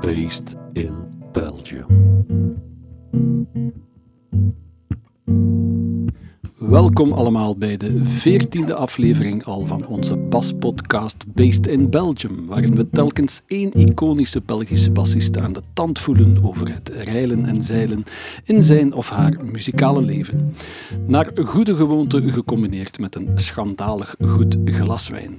Based in Belgium. Welkom allemaal bij de veertiende aflevering al van onze baspodcast Based in Belgium, waarin we telkens één iconische Belgische bassist aan de tand voelen over het reilen en zeilen in zijn of haar muzikale leven. Naar goede gewoonte gecombineerd met een schandalig goed glas wijn.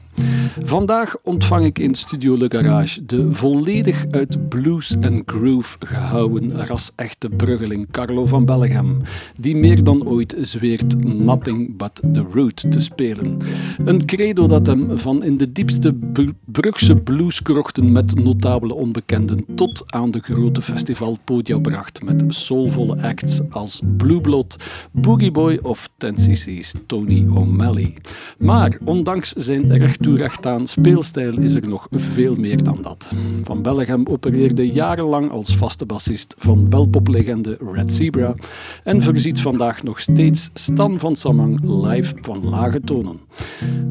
Vandaag ontvang ik in Studio Le Garage de volledig uit blues en groove gehouden ras-echte bruggeling Carlo van Bellegem, die meer dan ooit zweert Nothing But The Root te spelen. Een credo dat hem van in de diepste br- Brugse blueskrochten met notabele onbekenden tot aan de grote festivalpodia bracht met soulvolle acts als Blue Blood, Boogie Boy of 10cc's Tony O'Malley. Maar ondanks zijn recht toe recht aan speelstijl is er nog veel meer dan dat. Van Bellegem opereerde jarenlang als vaste bassist van belpoplegende Red Zebra en voorziet vandaag nog steeds Stan van Samang live van lage tonen.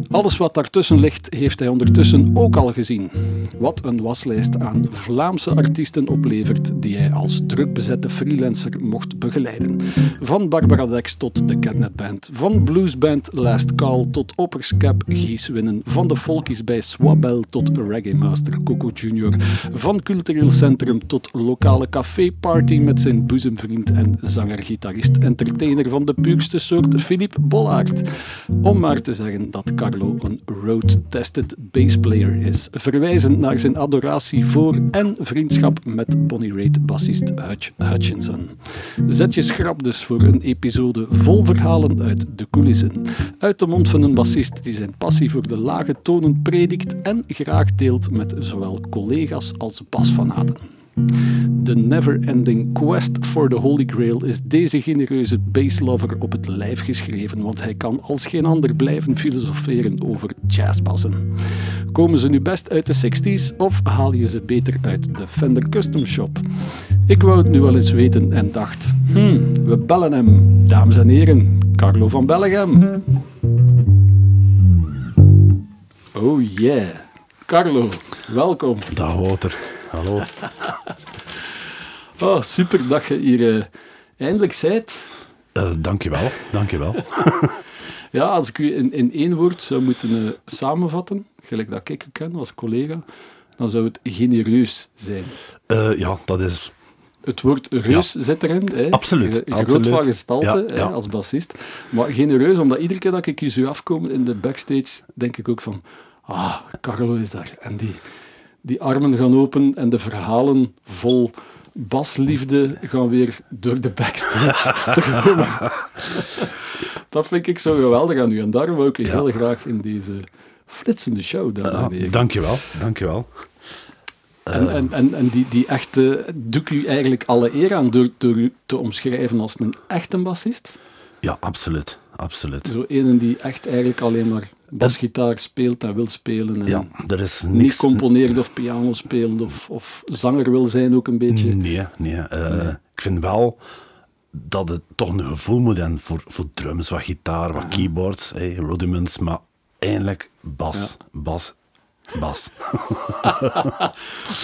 Alles wat daartussen ligt heeft hij ondertussen ook al gezien. Wat een waslijst aan Vlaamse artiesten oplevert die hij als drukbezette freelancer mocht begeleiden. Van Barbara Dex tot de Catnet Band, van bluesband Last Call tot opperscap Gies Winnen, van de folkies bij Swabel tot reggae master Coco Junior, van cultureel centrum tot lokale caféparty met zijn boezemvriend en zanger-gitarist entertainer van de puurste soort Philippe Bollaert. Om maar te zeggen dat Carlo een road-tested bassplayer is, verwijzend naar zijn adoratie voor en vriendschap met Bonnie Raitt bassist Hutch Hutchinson. Zet je schrap dus voor een episode vol verhalen uit de coulissen. Uit de mond van een bassist die zijn passie voor de lage tonen predikt en graag deelt met zowel collega's als basfanaten. De never-ending quest for the Holy Grail is deze genereuze basslover op het lijf geschreven, want hij kan als geen ander blijven filosoferen over jazzbassen. Komen ze nu best uit de 60s of haal je ze beter uit de Fender Custom Shop? Ik wou het nu wel eens weten en dacht, hmm, we bellen hem. Dames en heren, Carlo van Bellegem. Oh yeah. Carlo, welkom. Dag Wouter. Hallo. Oh, super dat je hier eh, eindelijk zijt. Eh dankjewel, dankjewel. Ja, als ik u in, in één woord zou moeten eh, samenvatten, gelijk dat ik u ken als collega, dan zou het genereus zijn. Eh, ja, dat is Het woord reus zit erin. Hè. Absoluut, Gro- Groot absoluut. van gestalte Ja, hè, ja. u als bassist. Maar genereus, omdat iedere keer dat ik hier zo afkom in de backstage, denk ik ook van, ah, Carlo is daar. En die, die armen gaan open en de verhalen vol basliefde gaan weer door de backstage stromen. Dat vind ik zo geweldig aan u. En daarom wou ik u Ja. heel graag in deze flitsende show, dames en heren. ah, dankjewel, dankjewel. En, en, en, en die, die echte, doe ik u eigenlijk alle eer aan door, door u te omschrijven als een echte bassist? Ja, absoluut, absoluut. Zo een die echt eigenlijk alleen maar basgitaar speelt en wil spelen. En Ja, er is niet niks... componeert of piano speelt of, of zanger wil zijn ook een beetje. Nee, nee. eh, Ik vind wel dat het toch een gevoel moet hebben voor, voor drums, wat gitaar, wat keyboards, hey, rudiments, maar eindelijk bas, bas, bas.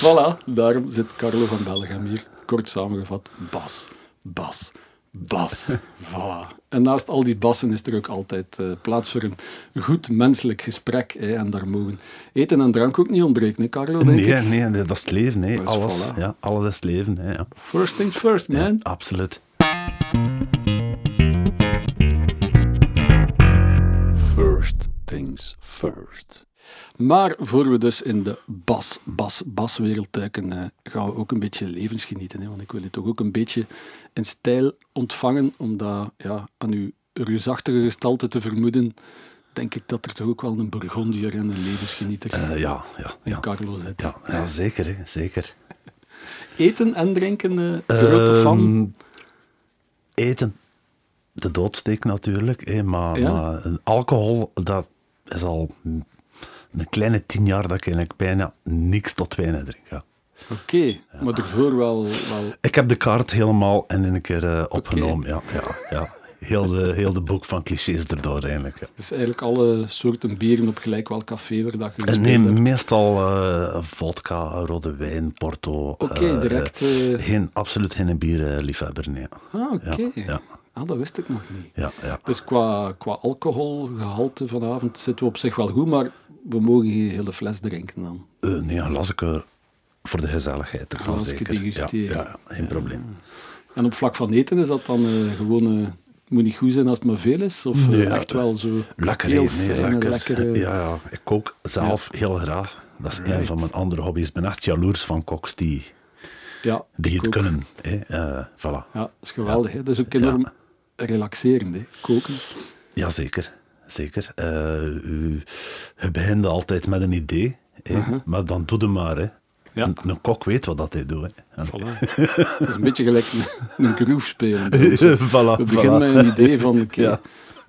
Voilà, daarom zit Carlo van Bellegem hier. Kort samengevat, bas, bas, bas. voilà. En naast al die bassen is er ook altijd eh, plaats voor een goed menselijk gesprek. Hè, en daar mogen eten en drank ook niet ontbreken, hè, Carlo? Denk ik. Nee, nee, nee, dat is het leven. Hey. is Alles, voilà. ja, alles is het leven. Hey, ja. First things first, man. Absoluut. First things first. Maar voor we dus in de bas, bas, baswereld duiken, eh, gaan we ook een beetje levensgenieten. Hè? Want ik wil je toch ook een beetje in stijl ontvangen, omdat ja, aan uw reusachtige gestalte te vermoeden, denk ik dat er toch ook wel een Burgondier en een levensgenieter in Eh, ja, ja, ja. Carlo zit. Ja, ja, zeker, hè, zeker. Eten en drinken, eh grote fan. Ehm, Eten. De doodsteek natuurlijk, hè, maar, Ja. maar een alcohol, dat is al een kleine tien jaar dat ik eigenlijk bijna niks tot wijn drink. Ja. Oké, maar daarvoor wel, wel Ik heb de kaart helemaal en in een keer eh, opgenomen. Ja, ja, ja. heel de, heel de boek van clichés erdoor eigenlijk. ja. Dus eigenlijk alle soorten bieren op gelijk wel café waar dat je En gespeeld hebt. neem meestal eh, vodka, rode wijn, porto. Oké, eh, direct. eh, eh, geen, absoluut geen bierliefhebber, nee. ah, oké. Ja, ja, Ah, dat wist ik nog niet. ja, ja. Dus qua, qua alcoholgehalte vanavond zitten we op zich wel goed, maar we mogen geen hele fles drinken dan. Eh, nee, een lasje voor de gezelligheid. Dat kan Lasje zeker. Ja, degusteren. ja, geen probleem. En op vlak van eten is dat dan eh, gewoon... eh, moet niet goed zijn als het maar veel is? Of eh, Nee, ja, echt wel zo Lekker, heel nee, fijne, lekker. lekkere... Ja, ja, ik kook zelf heel graag. Dat is een van mijn andere hobby's. Ik ben echt jaloers van koks die, Ja, die ik het ook. kunnen. Hè. Eh, voilà. Ja, dat is geweldig. Hè? Dat is ook enorm relaxerend, hè? koken. Jazeker, zeker. Eh, u, je begint altijd met een idee, hè, maar dan doe het maar. Hè. Mhm. Ja. Een, een kok weet wat dat hij doet. Hè. En- Voilà. Het is een beetje gelijk een, een groove spelen. bij ons, hè. Voilà, We voilà. beginnen met een idee van, oké, Ja. het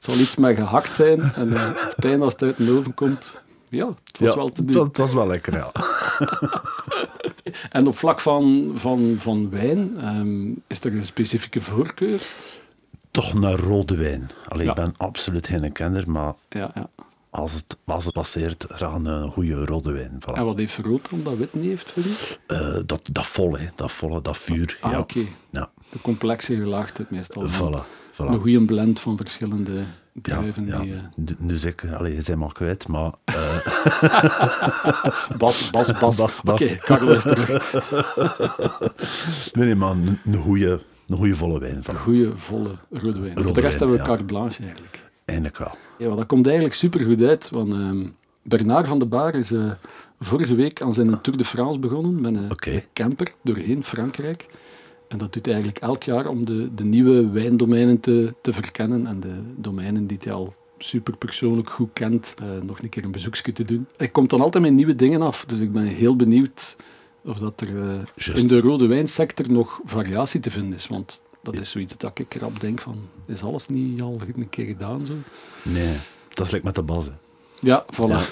zal iets met gehakt zijn. En eh, op het einde, als het uit de oven komt, ja, het was Ja, wel te het doen. was- Het was wel lekker, ja. En op vlak van, van, van wijn, ehm, is er een specifieke voorkeur? Toch naar rode wijn. Allee, Ja. ik ben absoluut geen kenner, maar Ja, ja. als het, als het passeert, gaan een goede rode wijn. Voilà. En wat heeft rood om dat wit niet heeft voor u? Eh, dat, dat volle, dat volle, dat vuur. Ah, ja. oké. ja. De complexe gelaagdheid meestal. van Voilà, voilà. Een goede blend van verschillende Ja, druiven. ja. Die, eh, Nu- Nu zeg ik, allee, je bent maar kwijt, maar Bas, Bas, Bas. Bas, Bas. Oké, Karel is terug. nee, nee, maar een, een goede een goeie volle wijn. Voilà. Goeie, volle rode wijn. Voor de Rode rest wijn, hebben we ja. carte blanche eigenlijk. Eindelijk wel. Ja, maar dat komt eigenlijk supergoed uit, want ehm, Bernard van de Baar is eh, vorige week aan zijn Tour de France begonnen met een Oké. een camper doorheen Frankrijk. En dat doet hij eigenlijk elk jaar om de, de nieuwe wijndomeinen te, te verkennen en de domeinen die hij al superpersoonlijk goed kent, eh, nog een keer een bezoekje te doen. Hij komt dan altijd met nieuwe dingen af, dus ik ben heel benieuwd of dat er eh, Juist. in de rode wijnsector nog variatie te vinden is, want dat is zoiets dat ik rap denk van, is alles niet al een keer gedaan zo? Nee, dat is lekker met de bas. Ja, voilà.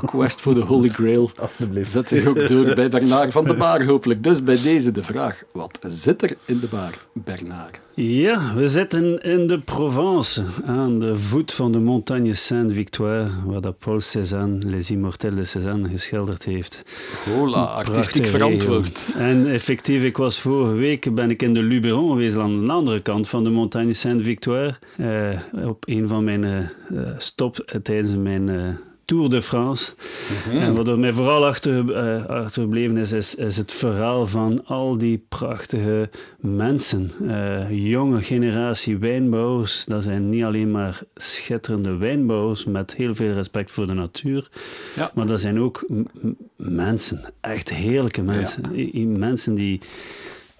De quest voor de Holy Grail Alsjeblieft. zet zich ook door bij Bernard van de Baar, hopelijk. Dus bij deze de vraag: wat zit er in de baar, Bernard? Ja, we zitten in de Provence, aan de voet van de montagne Sainte-Victoire, waar dat Paul Cézanne, Les Immortels de Cézanne, geschilderd heeft. Hola, artistiek Prachtige verantwoord. regio. En effectief, ik was vorige week ben ik in de Luberon geweest, aan de andere kant van de Montagne Sainte-Victoire, eh, op een van mijn eh, eh, stop eh, tijdens mijn eh, Tour de France. Mhm. En wat er mij vooral achter, eh, achterbleven is, is, is het verhaal van al die prachtige mensen. Eh, jonge generatie wijnbouwers, dat zijn niet alleen maar schitterende wijnbouwers met heel veel respect voor de natuur, Ja. maar dat zijn ook m- m- mensen, echt heerlijke mensen. I- i- Mensen die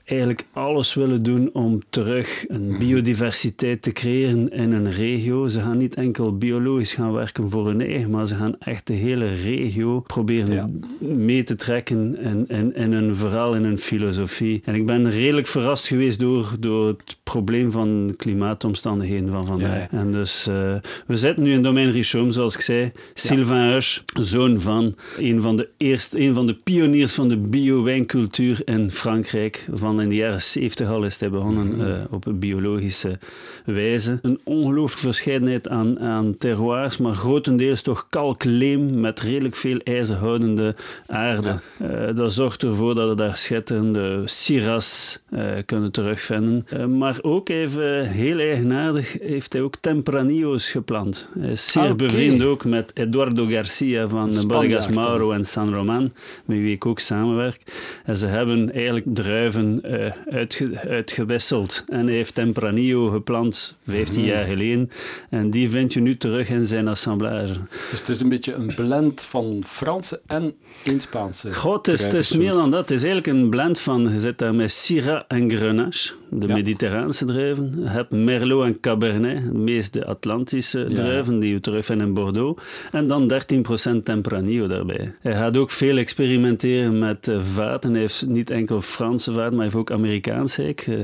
eigenlijk alles willen doen om terug een biodiversiteit te creëren in een regio. Ze gaan niet enkel biologisch gaan werken voor hun eigen, maar ze gaan echt de hele regio proberen Ja. mee te trekken in, in, in hun verhaal, in hun filosofie. En ik ben redelijk verrast geweest door, door het probleem van klimaatomstandigheden van vandaag. Ja, ja. En dus eh, we zitten nu in domein Richomme, zoals ik zei. Sylvain Husch, zoon van een van de, eerst, een van de pioniers van de bio-wijncultuur in Frankrijk. Van in de jaren 70 al is hij begonnen Mhm. eh, op een biologische wijze. Een ongelooflijke verscheidenheid aan, aan terroirs, maar grotendeels toch kalkleem met redelijk veel ijzerhoudende aarde. Eh, dat zorgt ervoor dat we daar schitterende siras eh, kunnen terugvinden. Eh, maar ook even eh, heel eigenaardig heeft hij ook Tempranillo's geplant. Hij is zeer Ah, oké. bevriend ook met Eduardo Garcia van eh, Spanjaard Bodegas dan. Mauro en San Roman, met wie ik ook samenwerk. En ze hebben eigenlijk druiven eh, uitge- uitgewisseld. En hij heeft Tempranillo geplant 15 jaar geleden. En die vind je nu terug in zijn assemblage. Dus het is een beetje een blend van Franse en in Spaanse. God, het is, het is meer dan dat. Het is eigenlijk een blend van, je zit daar met Syrah en Grenache, de Ja. Mediterraanse druiven. Je hebt Merlot en Cabernet, de meest de Atlantische Ja. druiven, die je terugvindt in Bordeaux. En dan 13% Tempranillo daarbij. Hij gaat ook veel experimenteren met eh, vaten. Hij heeft niet enkel Franse vaten, maar hij heeft ook Amerikaans hek. Eh,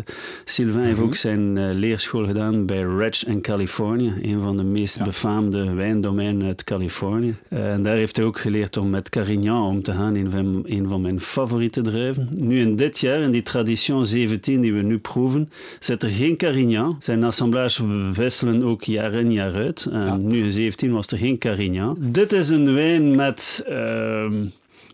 Sylvain heeft ook zijn eh, leerschool gedaan bij Ranch in Californië, een van de meest Ja. befaamde wijndomeinen uit Californië. Eh, en daar heeft hij ook geleerd om met Carignan om te gaan, een van, een van mijn favoriete druiven. Nu in dit jaar, in die Tradition 17 die we nu groeven, zit er geen Carignan. Zijn assemblages wisselen ook jaar in jaar uit. En nu in 17 was er geen Carignan. Dit is een wijn met... ehm,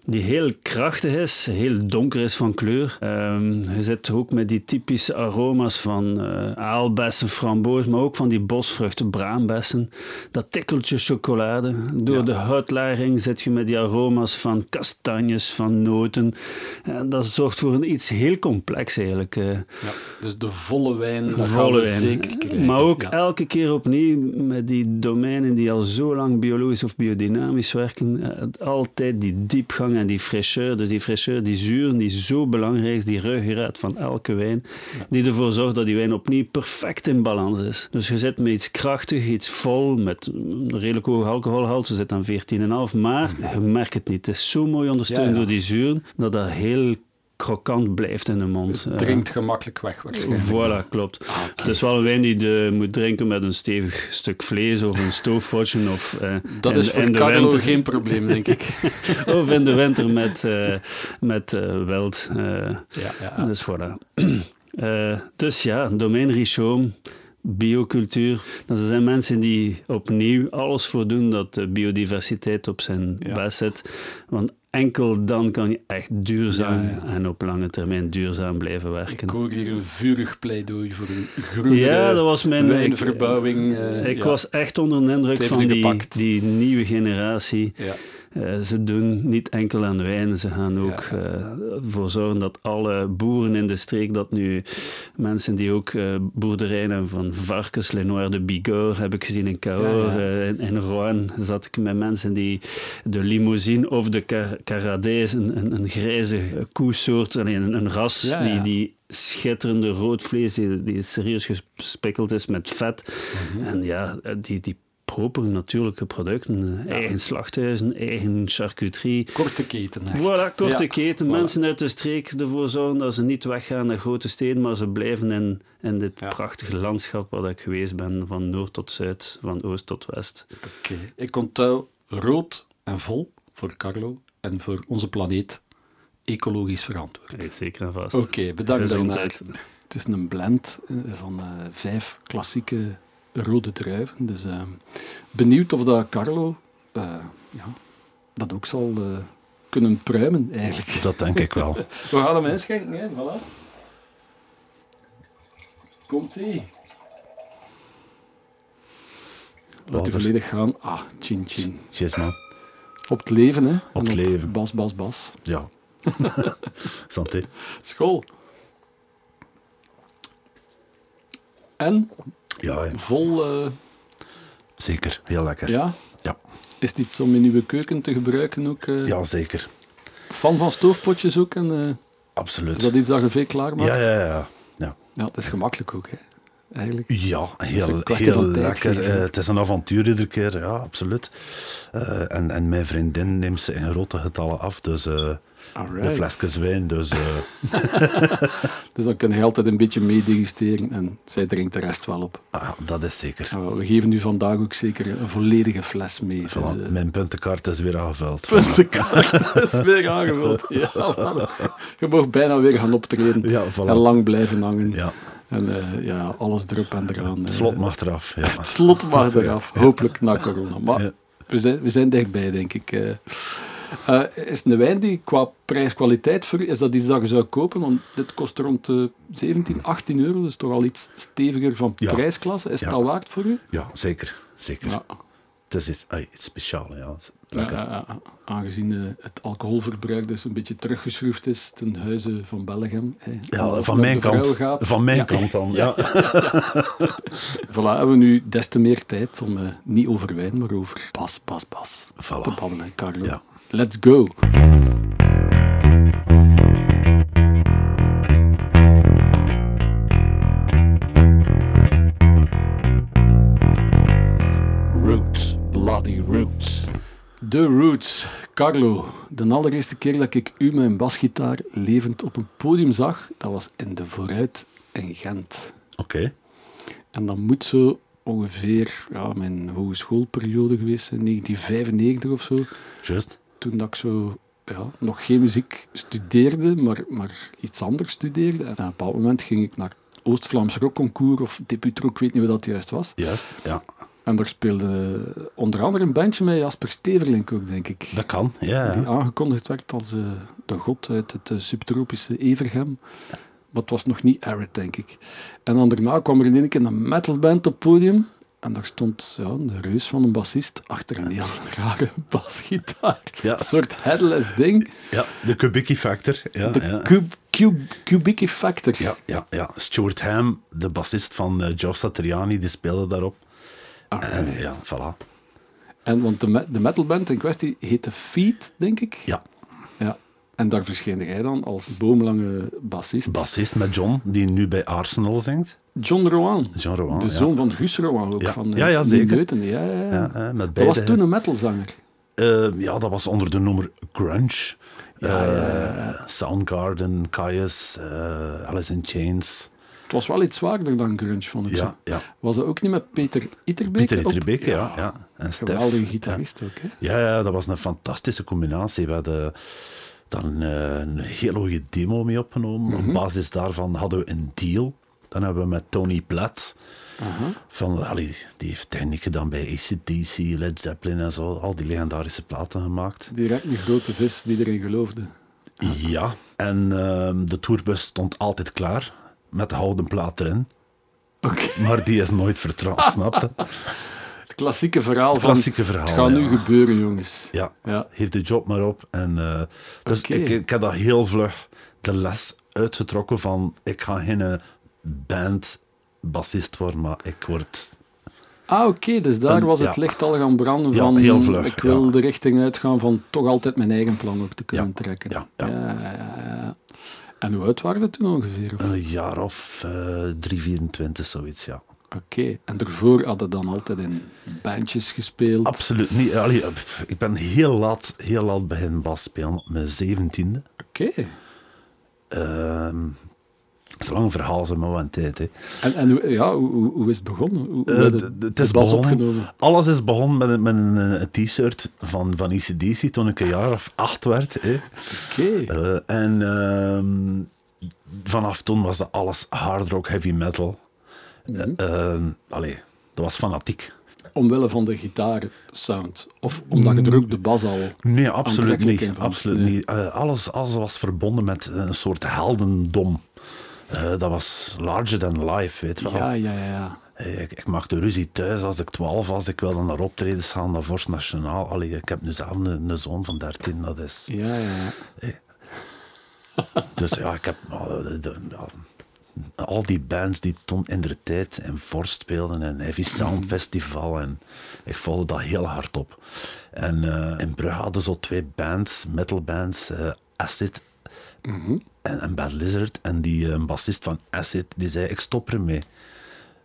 die heel krachtig is, heel donker is van kleur. Ehm je zit ook met die typische aroma's van eh, aalbessen, framboos, maar ook van die bosvruchten, braambessen. Dat tikkeltje chocolade. Door de huidlaring zit je met die aroma's van kastanjes, van noten. En dat zorgt voor een iets heel complex eigenlijk. eh Ja, dus de volle wijn gaan we volle in. zeker krijgen. Maar ook Ja. elke keer opnieuw met die domeinen die al zo lang biologisch of biodynamisch werken. eh, Altijd die diepgang en die fraîcheur. Dus die fraîcheur, die zuur, die zo belangrijk is. Die ruggengraat van elke wijn. Die ervoor zorgt dat die wijn opnieuw perfect in balans is. Dus je zit met iets krachtig, iets vol, met een redelijk hoog alcoholgehalte. Ze zit aan 14,5. Maar je merkt het niet. Het is zo mooi ondersteund Ja, ja. door die zuren, dat dat heel krokant blijft in de mond. Het Eh, drinkt gemakkelijk weg waarschijnlijk. Voilà, klopt. Ah, Het is wel een wijn die je moet drinken met een stevig stuk vlees of een stoofpotje. Of, eh, Dat in- is voor in de Carlo winter- geen probleem, denk ik. Of in de winter met, eh met eh, wild. eh. ja, ja. Dus voilà. Eh, dus ja, domein Richoom, biocultuur. Dat zijn mensen die opnieuw alles voor doen dat de biodiversiteit op zijn Ja. best zit. Want enkel dan kan je echt duurzaam Ja, ja. en op lange termijn duurzaam blijven werken. Ik hoor hier een vurig pleidooi voor een groenere Ja, dat was mijn... ik- wijnverbouwing. eh, Ik ja. was echt onder de indruk Het heeft van u die, gepakt. die nieuwe generatie. Ja. Eh, ze doen niet enkel aan wijn, ze gaan ook Ja. eh, voor zorgen dat alle boeren in de streek, dat nu mensen die ook eh, boerderijen van varkens, Lenoir de Bigorre heb ik gezien in Cahors, Ja, ja. eh, in, in Rouen zat ik met mensen die de limousine of de car Caradees, een, een, een grijze koesoort, alleen een, een ras, Ja, die, ja. die schitterende rood vlees die, die serieus gespikkeld is met vet. Mhm. En ja, die, die proper natuurlijke producten, eigen slachthuizen, eigen charcuterie. Korte keten, echt. Voilà, korte Ja. keten. Voilà. Mensen uit de streek ervoor zorgen dat ze niet weggaan naar grote steden, maar ze blijven in, in dit Ja. prachtige landschap waar ik geweest ben, van noord tot zuid, van oost tot west. Oké. Ik onthoud rood en vol voor Carlo en voor onze planeet ecologisch verantwoord. Dat is Zeker en vast. Oké, bedankt Gezondheid. daarna. Het is een blend eh, van eh, vijf klassieke rode druiven. Dus eh, benieuwd of dat Carlo eh, ja, dat ook zal eh, kunnen pruimen eigenlijk. Dat denk ik wel. We gaan hem inschenken, hè. Voilà. Komt-ie. Laat u Walter. volledig gaan. Ah, chin chin. Cheers, man. Op het leven, hè. En het leven. Bas, bas, bas. Ja. Santé. School. En Ja, hè. vol, eh, zeker. Heel lekker. Ja, ja. ja. Is dit iets om in uw keuken te gebruiken ook? eh? zeker. Fan van stoofpotjes ook? En, eh, Absoluut. is dat iets dat je veel klaarmaakt? ja, ja, ja. ja. Ja, het is gemakkelijk ook, hè. Eigenlijk. Ja, is een heel, kwestie heel van tijd, lekker. Gerard. Eh, het is een avontuur iedere keer, ja, absoluut. Eh, en, en mijn vriendin neemt ze in grote getallen af, dus eh, de Alright. flesjes wijn. Dus, eh, Dus dan kun je altijd een beetje meedigisteren en zij drinkt de rest wel op. ah, dat is zeker. Ja, wel, we geven u vandaag ook zeker een volledige fles mee. Dus, Voilà, eh, mijn puntenkaart is weer aangevuld. puntenkaart is weer aangevuld. Ja, wel. je mag bijna weer gaan optreden Ja, voilà. en lang blijven hangen. Ja, En eh, ja, alles erop en eraan. het eh. slot mag eraf. Ja. Het slot mag eraf, hopelijk na corona. Maar Ja. we, zijn, we zijn dichtbij, denk ik. eh. Eh, is een wijn die qua prijs-kwaliteit voor u, is dat iets dat je zou kopen? Want dit kost rond de 17, 18 euro, dus toch al iets steviger van Ja. prijsklasse. Is het Ja. al waard voor u? ja, zeker. zeker. Het is iets, ai, iets speciaals. Ja. Het is Lekker. Ja, ja, ja. eh, aangezien eh, het alcoholverbruik dus een beetje teruggeschroefd is ten huize van Belgium. hè. Ja, Als het van naar de mijn vrouw kant. gaat, Van mijn ja. kant dan. Ja. Voilà, hebben we nu des te meer tijd om eh, niet over wijn, maar over pas, pas, pas Voilà. te babbelen, Carlo. Ja. Let's go. Roots. Bloody Roots. De Roots. Carlo, de allereerste keer dat ik u mijn basgitaar levend op een podium zag, dat was in de Vooruit in Gent. Oké. En dat moet zo ongeveer ja, mijn hogeschoolperiode geweest zijn, 1995 of zo. Juist. Toen dat ik zo ja, nog geen muziek studeerde, maar, maar iets anders studeerde. En op een bepaald moment ging ik naar Oost-Vlaams rockconcours of Debutro, ik weet niet wat dat juist was. Juist, ja. En daar speelde eh, onder andere een bandje met Jasper Steverlink ook, denk ik. Dat kan, ja. Die ja. aangekondigd werd als eh, de god uit het eh, subtropische Evergem. Maar het was nog niet Arid, denk ik. En dan daarna kwam er in één keer een metalband op het podium. En daar stond ja, de reus van een bassist achter een heel rare basgitaar. Ja. Een soort headless ding. ja de Kubicki Factor. Ja, De ja. cube, cube, Kubicki Factor. Ja, ja, ja. Stuart Ham, de bassist van eh, Joe Satriani, die speelde daarop. En Alright. ja, voilà. Ah, En want de, me- de metalband in kwestie heette Feet, denk ik. Ja, Ja. En daar verscheen jij dan als boomlange bassist. bassist met John, die nu bij Arsenal zingt. John Rowan. John Rowan, De ja. zoon van Guus Rowan ook. Ja. Van, eh, Ja, ja, die zeker. Neutende. Ja, ja, ja. Ja, eh, met Dat beide, was toen een metalzanger. eh, ja, dat was onder de noemer Grunge. Eh, Soundgarden, Caius, eh, Alice in Chains. Het was wel iets zwaarder dan grunge, vond ik Ja, zo. ja. Was dat ook niet met Peter Iterbeek? Pieter op? Iterbeek, ja. ja. En Stef. Geweldige Ja. gitarist ook, hè? Ja, ja, dat was een fantastische combinatie. We hadden dan eh, een hele goede demo mee opgenomen. Mhm. Op basis daarvan hadden we een deal. Dan hebben we met Tony Platt, van, allee, die heeft techniek gedaan bij ACDC, Led Zeppelin en zo, al die legendarische platen gemaakt. Direct een grote vis die erin geloofde. Ja, en ehm, de tourbus stond altijd klaar, met de houden plaat erin. Oké, Maar die is nooit vertrouwd, snapte? het klassieke verhaal van... Klassieke verhaal. Het gaat nu ja. gebeuren, jongens. Ja, Ja. heeft de job maar op. En, eh, dus Oké. ik, ik heb dat heel vlug de les uitgetrokken van ik ga geen eh, bandbassist worden, maar ik word... Ah, oké, dus daar Een- was het ja. licht al gaan branden Ja, van... heel vlug, ik wil ja. de richting uitgaan van toch altijd mijn eigen plan ook te kunnen Ja, trekken. ja, ja. ja, ja, ja. En hoe oud waren we toen ongeveer? Of- Een jaar of eh 3, 24, zoiets, ja. Oké, en daarvoor hadden dan altijd in bandjes gespeeld. Absoluut niet. Allee, eh, pff, ik ben heel laat, heel laat begin bas spelen, op mijn zeventiende. Oké. Ehm het is een lang verhaal, ze maar wel een tijd. Hè. En, en hoe- ja, hoe, hoe- hoe is het begonnen? Hoe, hoe Eh, heb je d- d- het de is bas begonnen- opgenomen? Alles is begonnen met, een- met een, eh, een t-shirt van, E van ICDC toen ik een jaar of acht werd. Hè. Oké. Eh, en ehm, vanaf toen was dat alles hard rock, heavy metal. Ehm, allee, dat was fanatiek. Mhm. Omwille van de gitaarsound? Of omdat je er ook de bas al... Nee, absoluut Aantrekkelijk, niet. hè, van- Absoluut nee. niet. Eh, alles, alles was verbonden met een soort heldendom. Eh, dat was larger than life, weet je wel. Ja, ja, ja, ja. Eh, ik, ik maakte ruzie thuis als ik 12 was. Ik wilde naar optredens gaan, naar Vorst Nationaal. Allee, ik heb nu zelf een, een zoon van 13, dat is... Ja, ja, ja. Dus ja, ik heb eh, de- de- ja, al die bands die toen in de tijd en Forst speelden en Heavy Sound Festival en ik volgde dat heel hard op. En eh, in Brugge hadden zo twee bands, metalbands, eh, Acid Mhm. en, en Bad Lizard. En die eh, bassist van Acid, die zei ik stop ermee.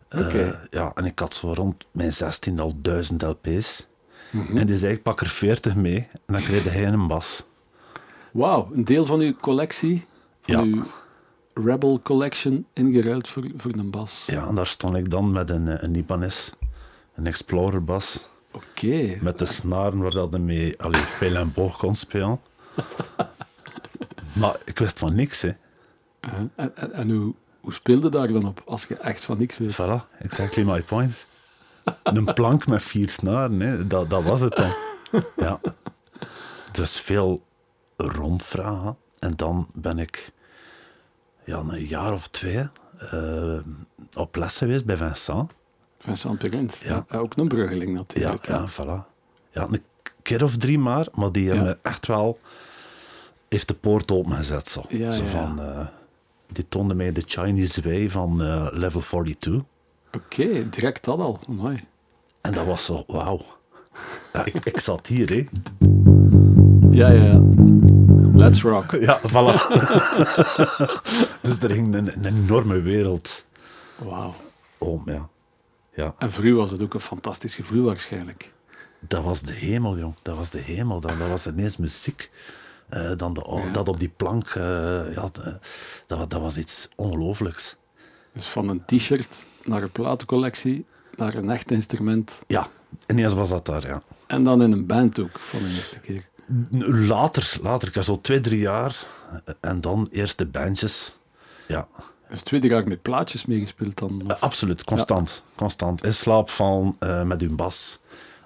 Eh, Oké. ja, en ik had zo rond mijn 16 al duizend LP's. Mhm. En die zei ik pak er 40 mee en dan kreeg hij een bas. Wauw, een deel van uw collectie, van Ja. uw Rebel Collection, ingeruild voor, voor een bas. Ja, en daar stond ik dan met een, eh, een Ibanez, een Explorer bas, Oké. met de snaren waar dat hij mee allee, pijl en boog kon spelen. Maar ik wist van niks, hè. Eh, En, en, en hoe, hoe speelde daar dan op, als je echt van niks weet? Voilà, exactly my point. Een plank met vier snaren, hè. Dat, dat was het dan. Ja. Dus veel rondvragen. En dan ben ik ja, een jaar of twee eh, op les geweest bij Vincent. Vincent Perent. Ja. Eh, Ook een bruggeling Ja, natuurlijk. hè. ja, voilà. Ja, een keer of drie maar, maar die Ja. hebben me echt wel... Heeft de poort opengezet, zo. Ja, zo ja, ja. van... eh, die toonde mij de Chinese Way van eh, Level 42. Oké, direct dat al. Mooi. En dat was zo, wauw. Ja, ik, ik zat hier, hè. Ja, ja, ja. Let's rock. Ja, voilà. dus er ging een, een enorme wereld Wauw. om, ja. Ja, En voor u was het ook een fantastisch gevoel waarschijnlijk. dat was de hemel, jong. Dat was de hemel. Dan. Dat was ineens muziek. Eh, dan de, Ja. Dat op die plank, eh, ja, d- dat, dat was iets ongelooflijks. Dus van een t-shirt naar een platencollectie, naar een echt instrument. Ja, ineens was dat daar, ja. En dan in een band ook, van de eerste keer. Later, later, ik had zo twee, drie jaar. eh, En dan eerst de bandjes. Ja, is het tweede jaar met plaatjes meegespeeld dan. Eh, absoluut, constant. constant. In slaap vallen eh, met hun bas.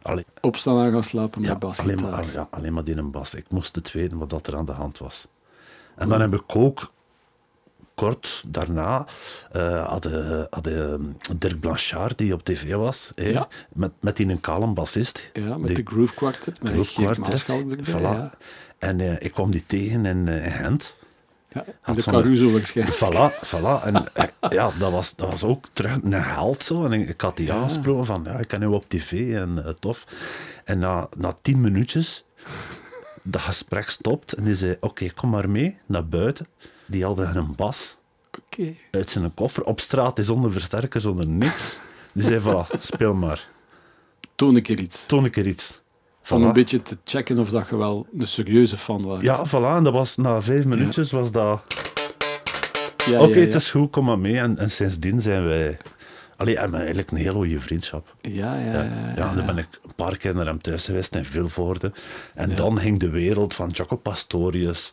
Allee, Opstaan en gaan slapen ja, met Bas. alleen, maar, ja, alleen maar die een bas. Ik moest het weten wat dat er aan de hand was. En dan heb ik ook kort daarna eh hadden hadden hm, Dirk Blanchard, die op tv was, hè, Ja. met, met die een kalm bassist. Ja, met Die- de Groove Quartet. Met Groove Geert Quartet. Maarschalk erbij, Voilà. Ja. En eh, ik kwam die tegen in eh, in Gent. Ja, en Had de zo'n- Caruso waarschijnlijk. Voilà, voilà. En eh, ja, dat was, dat was ook terug naar held zo. En ik, ik had die Ja. aansproken van, ja, ik kan nu op tv en eh, tof. En na, na tien minuutjes, dat gesprek stopt en die zei, oké, kom maar mee naar buiten. Die hadden een bas Oké. uit zijn koffer op straat, die zonder versterker, zonder niks. Die zei, voilà, speel maar. Toon een keer iets. Toon een keer iets. Om Voilà. een beetje te checken of dat je wel een serieuze fan was. Ja, voilà. En dat was, na vijf minuutjes was dat... Oké, het is goed, kom maar mee. En, en sindsdien zijn wij... Allee, hebben we eigenlijk een heel goede vriendschap. Ja, ja, ja. ja, Ja, en dan ben ik een paar keer naar hem thuis geweest in Vilvoorde. En dan ging de wereld van Choco Pastorius.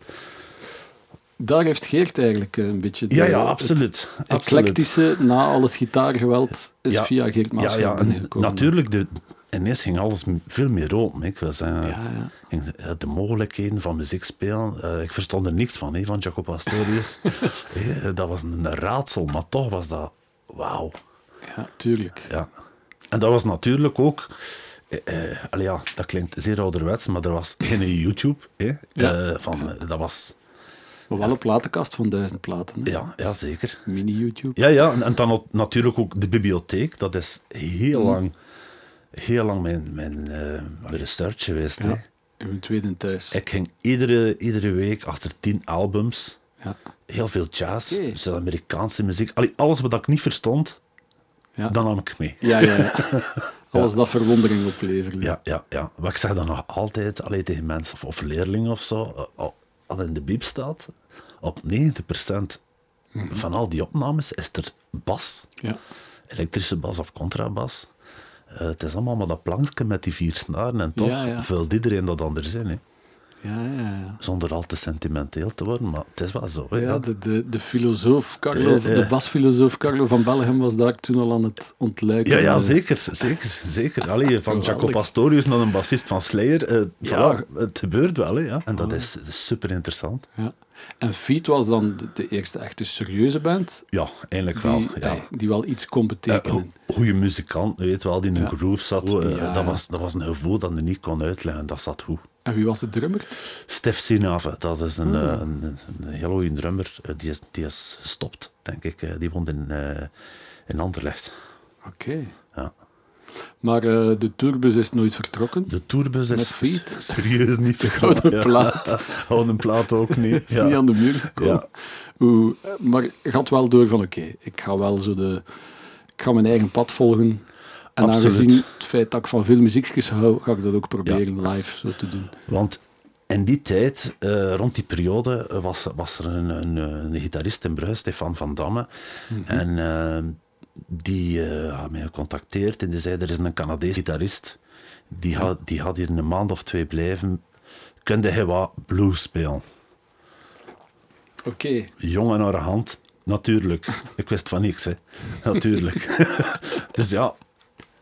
Daar heeft Geert eigenlijk eh, een beetje de, Ja, ja, het eh, absoluut. absoluut. eclectische, na al het gitaargeweld, is Ja. via Geert Ja, Maasschalk ja, en binnengekomen. natuurlijk. De, ineens ging alles m- veel meer open. hè. Ik was, eh, Ja, ja. ging de, eh, de mogelijkheden van muziek spelen. eh, ik verstond er niks van, hè, van Jaco Pastorius. Hè, dat was een raadsel, maar toch was dat... Wauw. ja, tuurlijk. Ja. En dat was natuurlijk ook... eh, eh, allee, ja, dat klinkt zeer ouderwets, maar er was geen YouTube. Hè, Ja. eh, van, eh, dat was... Maar wel een platenkast van duizend platen. Hè? Ja, ja zeker. Mini-YouTube. Ja, ja, en, en dan ook natuurlijk ook de bibliotheek. Dat is heel Mhm. lang, heel lang mijn, mijn eh, research geweest. Hè. Uw tweede thuis. Ik ging iedere, iedere week achter tien albums. Ja. Heel veel jazz, Oké. Zuid-Amerikaanse muziek. Allee, alles wat ik niet verstond, Ja. dan nam ik mee. Ja, ja, ja. Alles dat verwondering opleverde. Ja, ja, ja. Wat ik zeg dan nog altijd allee, tegen mensen of, of leerlingen of zo. eh, al- Als in de bieb staat, op 90% Mhm. van al die opnames is er bas. Ja. elektrische bas of contrabas. Eh, het is allemaal maar dat plankje met die vier snaren. En toch Ja, ja. vult iedereen dat anders in. Hè. Ja, ja, ja. Zonder al te sentimenteel te worden, maar het is wel zo. hè. Ja, Ja, de, de, de filosoof Carlo, Ja, ja. de basfilosoof Carlo van Belgium was daar toen al aan het ontluiken. ja, ja, zeker. zeker, zeker. Allee, van Jaco Geweldig. Pastorius naar een bassist van Slayer. eh, Ja. Ah. voilà, het gebeurt wel. Hè, ja. En dat is, super interessant. Ja. En Feet was dan de, de eerste echte serieuze band Ja, eigenlijk wel. die, Ja. eh, die wel iets kon Eh, betekenen. go- goeie muzikant, weet wel, die in een groove zat. Eh, Ja, ja. dat, was, dat was een gevoel dat je niet kon uitleggen. Dat zat goed. En wie was de drummer? Stef Sinave, dat is Hmm. een, eh, een, een, een heel goeie drummer. Eh, Die is, die is gestopt, denk ik. Eh, Die woont in, eh, in Anderlecht. Oké. Ja. Maar eh, de tourbus is nooit vertrokken. De tourbus Met is feet? s- serieus niet Gouden verkocht. plaat. Gouden plaat ook niet. Is ja. niet aan de muur gekomen. Ja. Oeh, eh, maar je had wel door van oké, ik ga wel zo de... Ik ga mijn eigen pad volgen. En Absoluut. aangezien het feit dat ik van veel muziekjes hou, ga ik dat ook proberen live zo te doen. Want in die tijd, eh, rond die periode, eh, was, was er een, een, een gitarist in Brugge, Stefan van Damme. Hmm. Mhm. En eh, die eh, had mij gecontacteerd en die zei, er is een Canadees gitarist, die had, die had hier een maand of twee blijven. Kunde hij wat blues spelen? Oké. jong en haar hand. Natuurlijk. Ik wist van niks, hè. Natuurlijk. dus ja,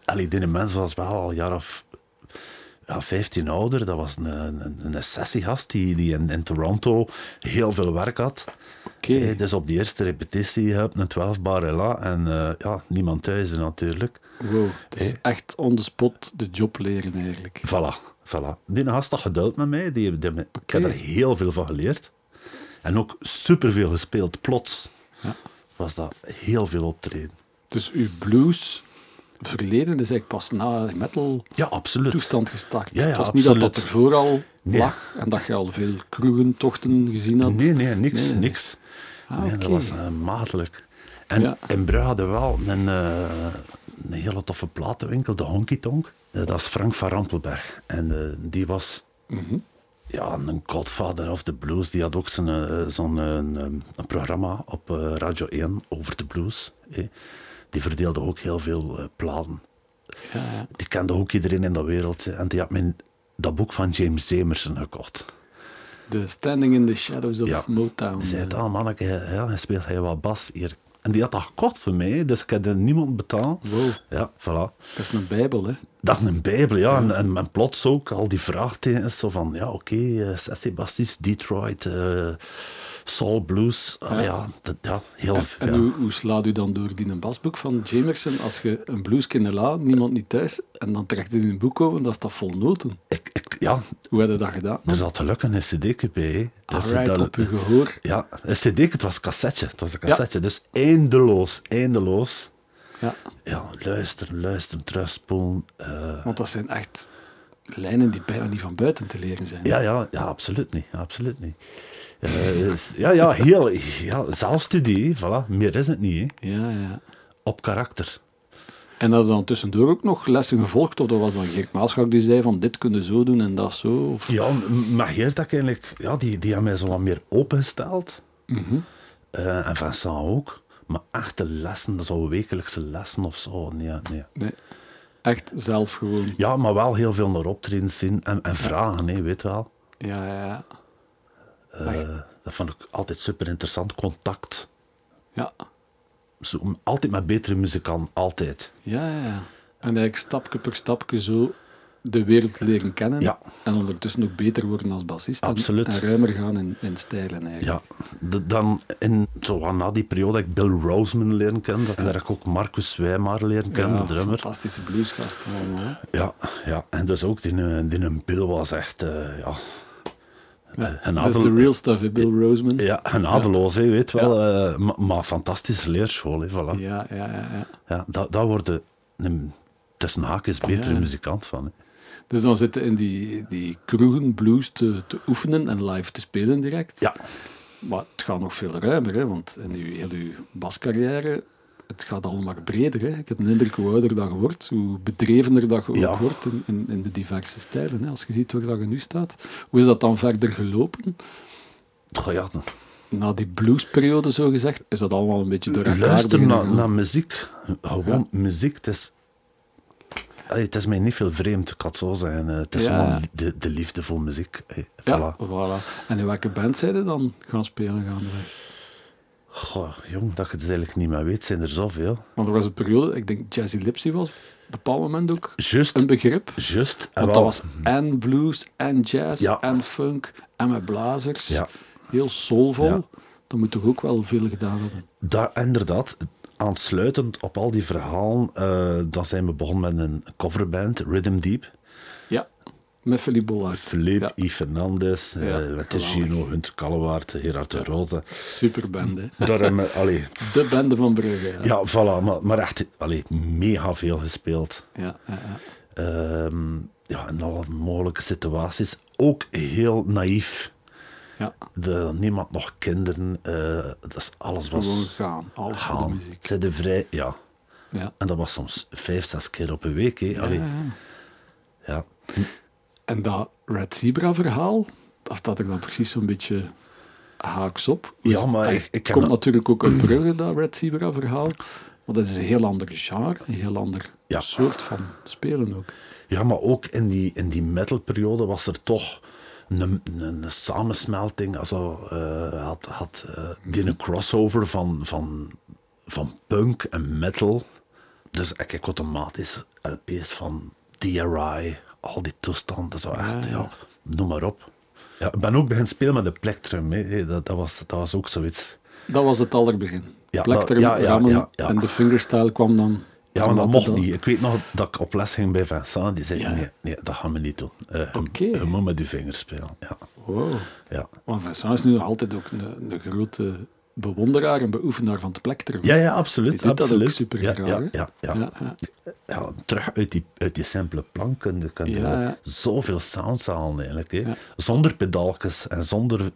allee, die mens was wel al een jaar of ja, 15 ouder. Dat was een, een, een sessiegast die, die in, in Toronto heel veel werk had. Oké. Eh, dus op die eerste repetitie heb je een 12 bar la en eh, ja, niemand thuis natuurlijk. Wow, het eh. is echt on the spot de job leren eigenlijk. Voilà, voilà. Die gast had geduld met mij. Die, die, Ik heb er heel veel van geleerd. En ook superveel gespeeld. Plots was dat heel veel optreden. Dus uw blues verleden is eigenlijk pas na de metal Ja, absoluut. toestand gestart. Ja, ja, het was niet dat dat er absoluut. vooral Nee. lag en dat je al veel kroegentochten gezien had. Nee, nee, niks. Nee, nee. niks. Ah, nee, oké. Dat was eh, maatelijk. En Ja. in Brugge hadden we wel een, eh, een hele toffe platenwinkel, de Honky Tonk. Eh, dat is Frank van Rampelberg. En eh, die was Mhm. ja, een godfather of the blues. Die had ook zijn, eh, zo'n eh, een, een programma op eh, Radio 1 over de blues. hè. Die verdeelde ook heel veel eh, platen. Ja, Die kende ook iedereen in dat wereldje. En die had mijn, dat boek van James Jamerson gekocht. De Standing in the Shadows of Ja. Motown. Hij zei het, ah manneke, ja, hij speelt hij wat bas hier. En die had dat gekocht voor mij, dus ik had er niemand betaald. Eh, Wow, Ja, voilà. dat is een bijbel, hè. Dat is een bijbel, ja. En, en, en plots ook al die vraagtekens zo van, ja, oké, eh, Sassy Bassis, Detroit, eh, Soul Blues. Ah, Ja. ja. dat, ja, heel... En ja. hoe, hoe slaat u dan door die een basboek van Jamerson als je een blues kunt laat, niemand niet thuis, en dan trekt u een boek over, dat is dat vol noten. Ik, ik, ja, Hoe heb je dat gedaan? er zat geluk een cd bij. Dus Alright, dat- Ah, op uw gehoor. Ja, een cd, het was een cassetje. Het was een cassetje, dus eindeloos, eindeloos. Ja, Ja, luisteren, luisteren, terugspoelen. eh, want dat zijn echt lijnen die bijna niet van buiten te leren zijn. Ja, ja, ja, absoluut niet. Absoluut niet. Eh, dus- ja, ja, heel, ja, zelfstudie, hè, voilà. meer is het niet. hè. ja. ja. Op karakter. En hadden dan tussendoor ook nog lessen gevolgd? Of dat was dan Geert Maaschak die zei van dit kunnen zo doen en dat zo? Of... Ja, m- maar Geert had eigenlijk, ja, die, die had mij zo wat meer opengesteld. Eh, en Vincent ook. Maar echte lessen, zo wekelijkse lessen of zo, nee, nee. Nee, echt zelf gewoon. Ja, maar wel heel veel naar optredens zien en, en vragen, hè, weet wel. Ja, ja, ja. Eh, dat vond ik altijd super interessant. Contact. Ja, Zo, altijd met betere muzikanten, altijd. ja, ja, ja. En eigenlijk stapje per stapje zo de wereld leren kennen. Ja. En ondertussen ook beter worden als bassist. en- Absoluut. En, ruimer gaan in, in stijlen eigenlijk. Ja, de- dan in, zo wat na die periode heb ik Bill Roseman leren kennen. En daar heb ik ook Marcus Wijmaar leren kennen, de drummer. Nou, Fantastische bluesgast allemaal. hè. Ja, ja, en dus ook die, eh, die een Bill was echt, eh, ja... eh, Een Dat is Dus de adel- real stuff, hè, Bill Roseman. ja, een adeloos, hè, weet wel. eh, ma- maar fantastische leerschool, hè, voilà. Ja. ja, ja, ja. ja. dat, dat wordt de- een tussen haakjes betere Ja. muzikant van. Hè. Dus dan zitten in die, die kroegen blues te, te oefenen en live te spelen direct. Ja, Maar het gaat nog veel ruimer, hè, want in uw, heel uw bascarrière, het gaat al maar breder. Hè. Ik heb een indruk hoe ouder dat je wordt, hoe bedrevener dat je ook Ja. wordt in, in, in de diverse stijlen. Hè. Als je ziet waar dat je nu staat. Hoe is dat dan verder gelopen? Goh, ja dan- Na die bluesperiode, zo gezegd, is dat allemaal een beetje door elkaar Luister beginnen naar, gaan? naar muziek. Gewoon muziek. Het is, Allee, het is mij niet veel vreemd, ik kan het zo zeggen. Eh, Het is Ja. gewoon de, de liefde voor muziek. Eh, Ja, Voilà. voilà. En in welke band zijn je dan gaan spelen gaandeweg? Goh, jong, dat je het eigenlijk niet meer weet, zijn er zoveel. Want er was een periode, ik denk Jazzy Lipsy was op een bepaald moment ook Just, een begrip. just. en Want dat wel- was en blues, en jazz, Ja. en funk, en met blazers. Ja. Heel soulvol. Ja. Dat moet toch ook wel veel gedaan hebben. Daar, inderdaad, aansluitend op al die verhalen, eh, dan zijn we begonnen met een coverband, Rhythm Deep. Ja, met Philippe Bollard. Flip, Ja. Yves Fernandez, eh, Ja, met de geweldig. Gino, Hunter Kallewaard, Gerard de Rode. Superband, hè. Daar hebben we, allee, De bende van Brugge. Ja. ja, voilà, maar, maar echt allee, mega veel gespeeld. Ja, ja, ja. Ehm, ja, in alle mogelijke situaties. Ook heel naïef. Ja, De, niemand nog kinderen. eh, dus alles gewoon was gaan. Alles voor de gaan. muziek. Zij de vrij, ja. Ja. En dat was soms vijf, zes keer op een week. Hè. Allee, Ja, ja. ja. En dat Red Zebra verhaal, dat staat er dan precies zo'n beetje haaks op. Hoe Ja, is het- maar Ah, ik- ik ken komt dat- natuurlijk ook uit Brugge, dat Red Zebra verhaal. Want dat is een heel ander genre, een heel ander Ja. soort van spelen ook. ja, maar ook in die, in die metalperiode was er toch een, een, een samensmelting. Also, eh, had had eh, die een crossover van, van, van punk en metal. Dus ik heb automatisch LP's van DRI, al die toestanden, zo echt, Ah, ja. ja. noem maar op. Ja, ik ben ook beginnen spelen met de plectrum, hè. Dat, dat, was, dat was ook zoiets. Dat was het allerbegin. Ja, Plektrum, dat- ja, ja, rammen ja, ja. en de fingerstyle kwam dan. Ja, maar dat omdat mocht het niet. Ik weet nog dat ik op les ging bij Vincent, die zei, Ja. nee, nee, dat gaan we niet doen. Eh, je- Oké. je, moet met je vingers spelen. Ja, Wow. ja. Want Vincent is nu nog altijd ook een, een grote bewonderaar en beoefenaar van de plektrum. Ja, ja, absoluut. Die doet dat ook absoluut. super ja, graag, ja, hè? ja, ja. Ja, ja. Ja, terug uit die, uit die simpele plank kun je, kun je Ja, ja. zoveel sounds halen eigenlijk. Hè. Ja. Zonder pedalkes en zonder...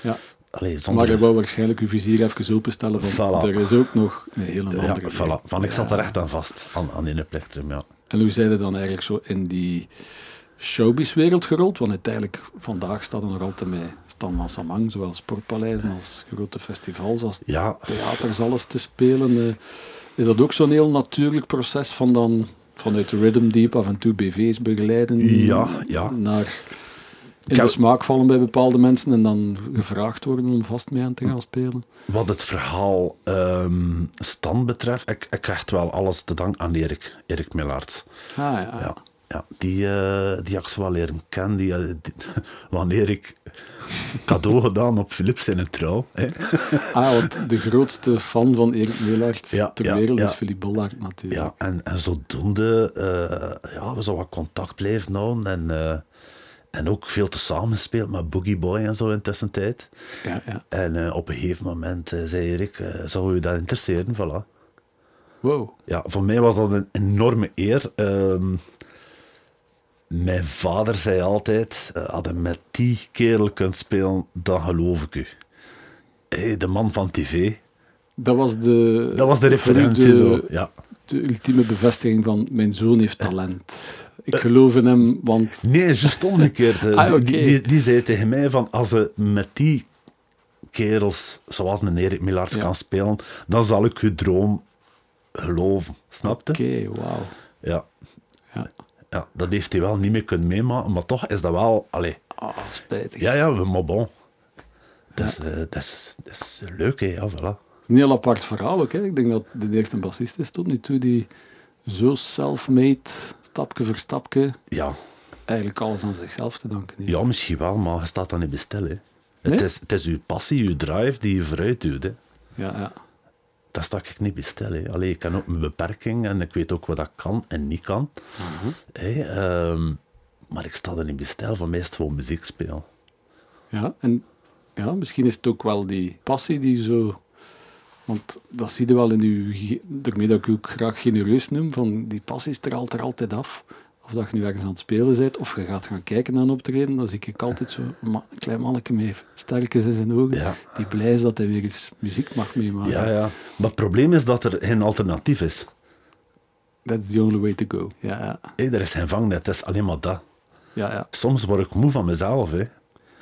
Ja. Allee, Maar zonder je wou waarschijnlijk uw vizier even openstellen. Van, Voilà. Er is ook nog een hele andere. ja, plek. voilà. Van, ik zat er echt aan vast, aan, aan in plektrum, ja. En hoe zijn je dan eigenlijk zo in die showbiz-wereld gerold? Want uiteindelijk, vandaag staat er nog altijd mee Stan van Samang, zowel sportpaleizen als grote festivals, als Ja, theaters, alles te spelen. eh. Is dat ook zo'n heel natuurlijk proces van dan vanuit Rhythm Deep af en toe BV's begeleiden Ja, ja. naar in de smaak vallen bij bepaalde mensen en dan gevraagd worden om vast mee aan Hm. te gaan spelen. Wat het verhaal ehm, stand betreft, ik, ik hecht wel alles te danken aan Erik, Erik Millaerts. Ah ja. Ja, ja die, eh, die heb ik zo wel leren kennen. Die, eh, die- wanneer ik cadeau gedaan op Philips in een trouw. Hè. Ah, want de grootste fan van Erik Meelaerts Ja, ter ja, wereld ja. is Philippe Bollaert natuurlijk. Ja, en, en zodoende eh ja, we zo wat contact blijven houden. En, eh, en ook veel te samenspeeld met Boogie Boy en zo in tussentijd. Ja, ja. En eh, op een gegeven moment eh, zei Erik, eh, zou u dat interesseren? Voilà. Wow. Ja, voor mij was dat een enorme eer. Ehm, mijn vader zei altijd, eh, had je met die kerel kunt spelen, dan geloof ik u. Hey, de man van tv, Dat was de, dat was de referentie. beroemde- Zo. Ja. de ultieme bevestiging van mijn zoon heeft talent. Ik Eh. geloof in hem, want... Nee, juist omgekeerd. eh. Ah, Die- die, oké. die, die zei tegen mij van, als je met die kerels, zoals een Erik Millaerts Ja. kan spelen, dan zal ik je droom geloven. Snapte? Oké, wauw. Ja. Ja. ja, dat heeft hij wel niet meer kunnen meemaken, maar toch is dat wel... Allee, Ah, spijtig. Ja, ja, maar bon. Dat is, eh, dat is, dat is leuk, hè. Ja, voilà. Een heel apart verhaal ook. Hè? Ik denk dat de eerste bassist is tot nu toe die zo self-made, stapje voor stapje, Ja, eigenlijk alles aan zichzelf te danken heeft. ja, misschien wel, maar je staat dan niet bestel, hè. Nee? Het, is, het is uw passie, uw drive die je vooruit duwt, hè. Ja, ja. Dat sta ik niet bestel, hè. Allee, ik ken ook mijn beperking en ik weet ook wat ik kan en niet kan. Mhm. Hè, ehm, maar ik sta er niet bestel, voor mij is het gewoon muziek spelen. Ja, en ja, misschien is het ook wel die passie die zo... Want dat zie je wel in uw... ge- Daarmee dat ik u ook graag genereus noem, van die passie straalt er altijd af. Of dat je nu ergens aan het spelen bent, of je gaat gaan kijken naar een optreden, dan zie ik altijd zo een ma- een klein manneke met sterkes in zijn ogen, Ja. die blij is dat hij weer eens muziek mag meemaken. Ja, ja. Maar het probleem is dat er geen alternatief is. That's the only way to go. Ja, ja. Hè, er is geen vangnet, het is alleen maar dat. ja, ja. soms word ik moe van mezelf. Hè.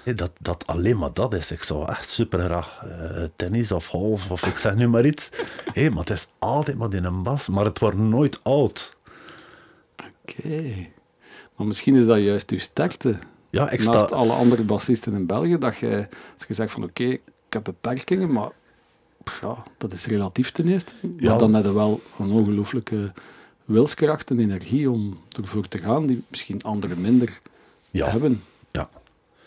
Hé, Dat, dat alleen maar dat is. Ik zou echt super graag tennis of half of ik zeg nu maar iets. Hé, maar het is altijd maar in een bas, maar het wordt nooit oud. Oké. Maar misschien is dat juist uw sterkte. Ja, ik Naast sta. alle andere bassisten in België, dat je, als je zegt van oké, ik heb beperkingen, maar pff, ja, dat is relatief ten eerste. Maar Ja. dan heb je wel een ongelooflijke wilskracht en energie om ervoor te gaan, die misschien anderen minder Ja, hebben. ja,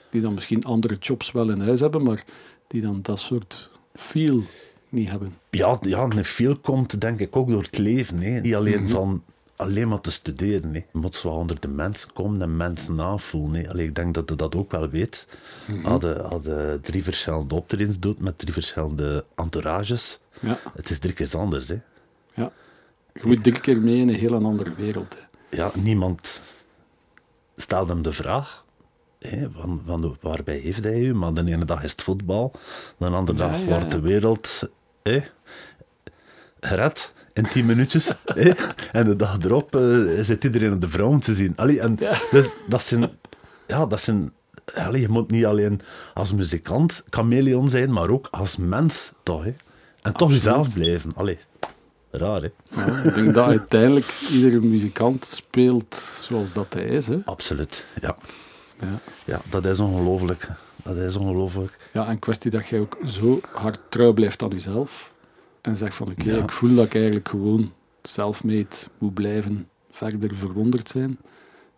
Die dan misschien andere jobs wel in huis hebben, maar die dan dat soort feel niet hebben. ja, ja, en veel komt denk ik ook door het leven. Hè. Niet alleen van alleen maar te studeren. Hè. Je moet zo onder de mensen komen en mensen navoelen. Hè. Allee, ik denk dat je dat ook wel weet. Hadden hadden drie verschillende optredens doet met drie verschillende entourages. Ja, Het is drie keer anders. Hè. ja. Je moet drie keer mee in een heel andere wereld. hè. ja, niemand stelde hem de vraag. Hè, van, van waarbij heeft hij u? Maar de ene dag is het voetbal, de andere Ja, dag ja, wordt ja. de wereld hè, gered in tien minuutjes. hè. En de dag erop eh, zit iedereen op de vrouwen te zien. Allee, en Dus dat zijn... Ja, dat zijn allee, je moet niet alleen als muzikant chameleon zijn, maar ook als mens toch. Hè. En toch jezelf blijven. Allee, raar hè? Ja, ik denk dat uiteindelijk iedere muzikant speelt zoals dat hij is. Hè? Absoluut, ja. Ja. Ja, dat is ongelooflijk. Dat is ongelooflijk. ja, en kwestie dat jij ook zo hard trouw blijft aan jezelf. En zegt van, oké, Ja. ik voel dat ik eigenlijk gewoon self-made moet blijven verder verwonderd zijn.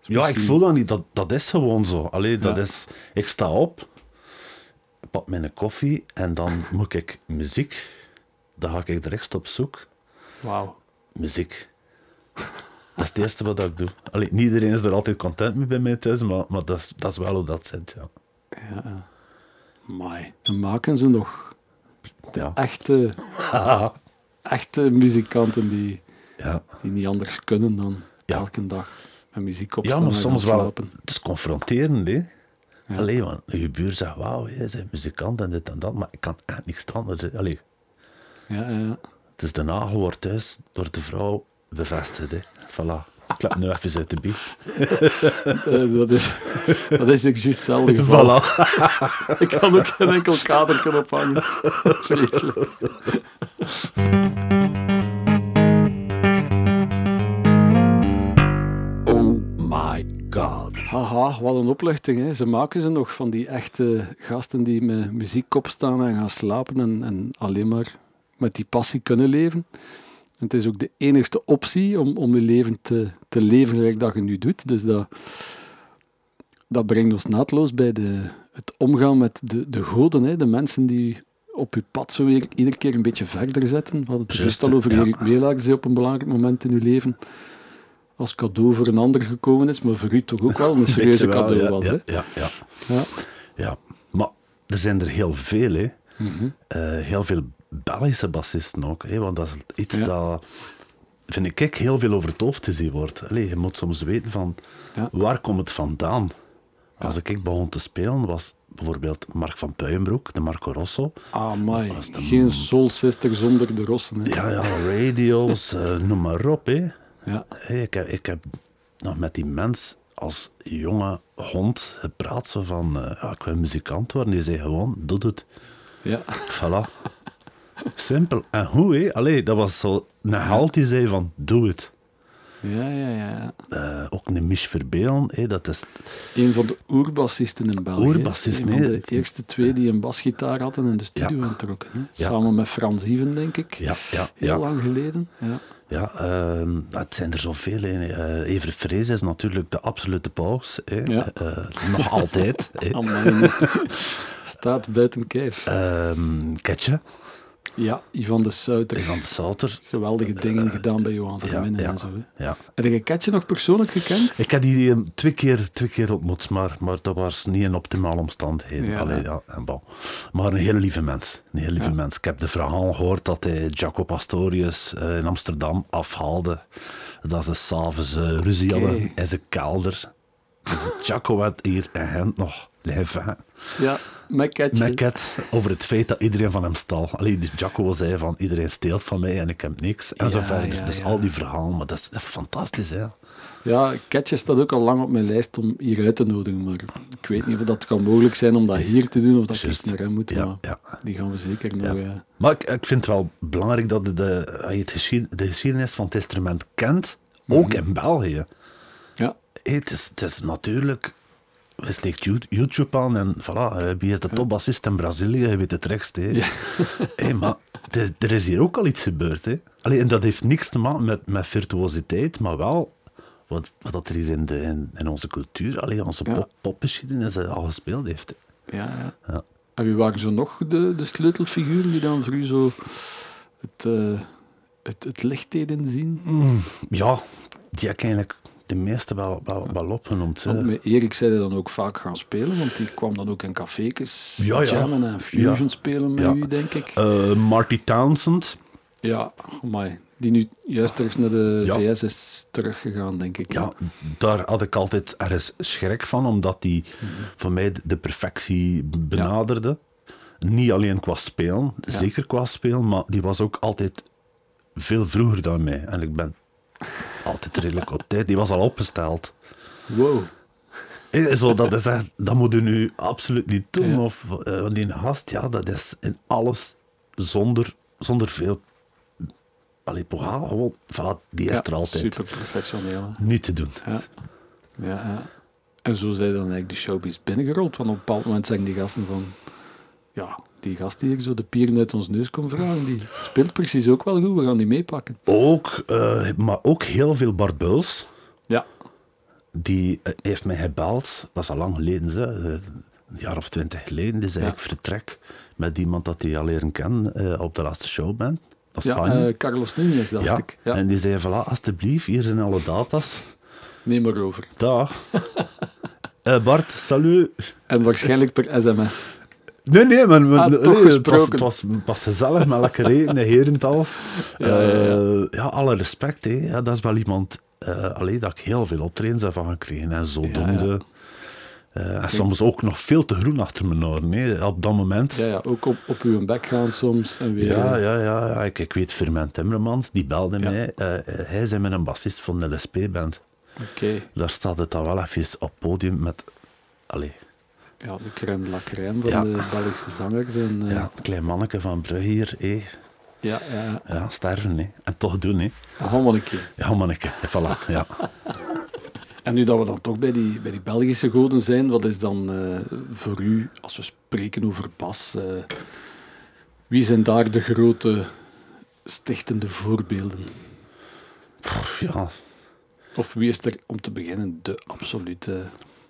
Is Ja, ik misschien- voel dat niet. Dat, dat is gewoon zo. Allee, dat Ja. is... Ik sta op, pak mijn koffie en dan moet ik muziek... Dan ga ik er echt op zoek. Wauw. Muziek. Dat is het eerste wat ik doe. Allee, niet iedereen is er altijd content mee bij mij thuis, maar, maar dat, is, dat is wel hoe dat zit, ja. Ja. Amai. Ze maken ze nog. Ja. Echte, Ah. echte muzikanten die, ja. die niet anders kunnen dan Ja. elke dag met muziek opstaan Ja, maar en gaan soms wel. slapen. Het is confronterend, hè. Ja. Allee, want je buur zegt, wauw, jij bent muzikant en dit en dat, maar ik kan echt niks anders. hè. Allee, Ja, ja. Het is de nagel wordt thuis door de vrouw bevestigd. Hè. Voilà. Ik klap nu even uit de bieg. Eh, dat is, dat is ook juist hetzelfde geval. Voilà. Ik kan ook geen enkel kader ophangen. Vreselijk. Oh my god. Oh Haha, Ja, wat een oplichting. Hè. Ze maken ze nog van die echte gasten die met muziek opstaan en gaan slapen en, en alleen maar met die passie kunnen leven. En het is ook de enigste optie om, om je leven te, te leven zoals dat je nu doet. Dus dat, dat brengt ons naadloos bij de, het omgaan met de, de goden, hè. de mensen die op je pad zo weer iedere keer een beetje verder zetten. We hadden het Juist, juist al over ja. Erik Welaar, die op een belangrijk moment in je leven als cadeau voor een ander gekomen is, maar voor u toch ook wel een serieuze Weet je wel, cadeau ja, was. ja, hè? ja, ja, Ja. ja. Maar er zijn er heel veel, hè. Mhm. Eh, heel veel Belgische bassisten ook, hè, want dat is iets Ja. dat, vind ik, kijk, heel veel over het hoofd gezien wordt. Allee, je moet soms weten van, Ja. waar komt het vandaan? Als ik ik begon te spelen, was bijvoorbeeld Mark van Puijenbroek, de Marco Rosso. Amai, was de geen Soul Sister zonder de rossen. Hè. Ja, ja, radio's, eh, noem maar op, hè. Ja. Hey, ik, heb, ik heb nog met die mens als jonge hond gepraat. Zo van, eh, ja, ik wil muzikant worden. Die zei gewoon, doe het. Ja. Voilà. Simpel. En hoe, hé? Allee, dat was zo... Een halt die zei van, doe het. ja, ja, ja. Eh, ook een Mich Verbeel, hé, dat is... Een van de oerbassisten in België. Oerbassisten, Een van hè. de eerste twee die een basgitaar hadden en de studio Ja. aantrokken. hè. Samen met Frans Iven, denk ik. Ja, ja, Heel ja. lang geleden. Ja. Ja, eh, het zijn er zoveel. hè. Eh Evert Vrees is natuurlijk de absolute paus. hè. Ja. Eh, nog altijd. hè. Amai. Staat buiten kijf. Ehm, Ketje, Ja, Ivan de Suiter. van de Souter. Geweldige dingen gedaan bij Johan van Ja, Winnen ja, en zo. Hè. ja. Heb je Ketje nog persoonlijk gekend? Ik heb die eh, twee keer, twee keer ontmoet, maar, maar dat was niet een optimale omstandigheid. Ja. Allee, ja, en bon. Maar een heel lieve mens. Een heel lieve Ja. mens. Ik heb de verhaal gehoord dat hij Jacob Astorius eh, in Amsterdam afhaalde. Dat ze s'avonds eh ruzie Oké. hadden in zijn kelder. Dus Jaco had hier en hen nog leven. Ja, met Ketje. Met het over het feit dat iedereen van hem stal. Alleen die Jaco zei van iedereen steelt van mij en ik heb niks. En zo Ja, verder. ja, dus ja. al die verhalen, maar dat is, dat is fantastisch. Hè? Ja, Ketje staat ook al lang op mijn lijst om hier uit te nodigen, maar ik weet niet of dat kan mogelijk zijn om dat hier te doen of dat Juist. ik naar hem moet, Ja, maar ja. die gaan we zeker nog... eh, Maar ik, ik vind het wel belangrijk dat je de, dat je het geschied- de geschiedenis van het instrument kent, ook in België. ja, Hé, het, is, het is natuurlijk, je steekt You- YouTube aan en voilà, eh, wie is de topbassist in Brazilië, je weet het rechts. Hé. Hé, maar het is- er is hier ook al iets gebeurd. Hè. Allee, en dat heeft niks te maken met, met virtuositeit, maar wel wat, wat dat er hier in, de, in, in onze cultuur, allee, onze Ja. pop, popgeschiedenis eh, al gespeeld heeft. hè. ja, ja. Ja. En wie waren zo nog de, de sleutelfiguren die dan voor u zo het, eh, het, het licht deden zien? Ja, die heb ik eigenlijk de meeste wel, wel, wel opgenoemd. hè. Want met Erik zei hij dan ook vaak gaan spelen, want die kwam dan ook in cafékes Ja, ja. jammen en fusion Ja. spelen met Ja. u, denk ik. Eh, Marty Townsend. Ja, amai. Die nu juist terug naar de Ja. VS is teruggegaan, denk ik. Ja, daar had ik altijd ergens schrik van, omdat die voor mij de perfectie benaderde. Niet alleen qua spelen, zeker qua spelen, maar die was ook altijd veel vroeger dan mij. En ik ben altijd redelijk op tijd. Die was al opgesteld. Wow. Eh, Zo, dat, is echt, dat moet je nu absoluut niet doen. Ja. Of, eh, want die gast, ja, dat is in alles zonder, zonder veel... Allee, poha, gewoon, voilà, die is er altijd. Super professioneel. hè. Niet te doen. Ja. Ja, ja. En zo zijn dan eigenlijk de showbiz binnengerold. Want op een bepaald moment zeggen die gasten van... Ja, die gast die hier zo de pieren uit ons neus komt vragen, die speelt precies ook wel goed. We gaan die meepakken. Ook, eh, maar ook heel veel Bart Buls. Ja. Die eh, heeft mij gebeld. Dat is al lang geleden, ze, eh, een jaar of twintig geleden. Die zei, Ja. ik vertrek met iemand dat hij al leren kennen eh, op de laatste show ben. Dat is Ja, Spanje. eh, Carlos Nunez, dacht ja. ik. Ja, En die zei, voilà, alsjeblieft, hier zijn alle data's. Neem maar over. Dag. Eh, Bart, salut. En waarschijnlijk per sms. Nee, nee, maar, maar- Ah, nee, toch het was- gesproken. Het was, het was gezellig, met lekker eten, herend alles. Eh, Ja, Ja, ja, alle respect. Hè. Ja, dat is wel iemand eh allee, dat ik heel veel optredens heb van gekregen. En zodoende. Ja, ja. Eh, en soms ook nog veel te groen achter mijn oren, hè, op dat moment. Ja, ja, ook op, op uw bek gaan soms. En weer, Ja, eh, ja, ja. ja. Ik, ik weet Firmin Timmermans, die belde mij. Eh, eh, hij is met een bassist van de LSP-band. Oké. Daar staat het dan wel even op het podium met... Allee, Ja, de crème de la crème van Ja. de Belgische zangers. En, eh, ja, een klein manneke van Brugge hier. hè. ja, ja, ja. Ja, sterven. hè. En toch doen, hè. Allemaal een keer. Ja, manneke. En Voilà, ja. En nu dat we dan toch bij die, bij die Belgische goden zijn, wat is dan eh, voor u, als we spreken over Bas, eh, wie zijn daar de grote stichtende voorbeelden? Pff, ja, Of wie is er om te beginnen de absolute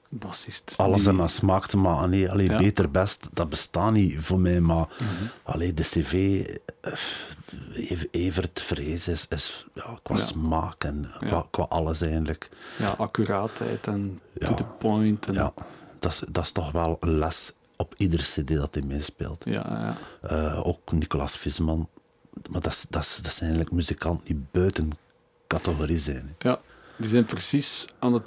bassist? alles die- en maar smaakte, maar allee, allee, Ja. beter best, dat bestaat niet voor mij. Maar Mhm. allee, de cv, eh, Ev- Evert Vrees is, is ja, qua Ja. smaak en qua, Ja. qua alles eigenlijk. Ja, accuraatheid en to Ja. the point. En, Ja, dat is, dat is toch wel een les op ieder cd dat hij meespeelt. ja, ja. Eh, ook Nicolaas Visman. Maar dat, is- dat, is- dat zijn eigenlijk muzikanten die buiten categorie zijn. hè. Ja, die zijn precies aan het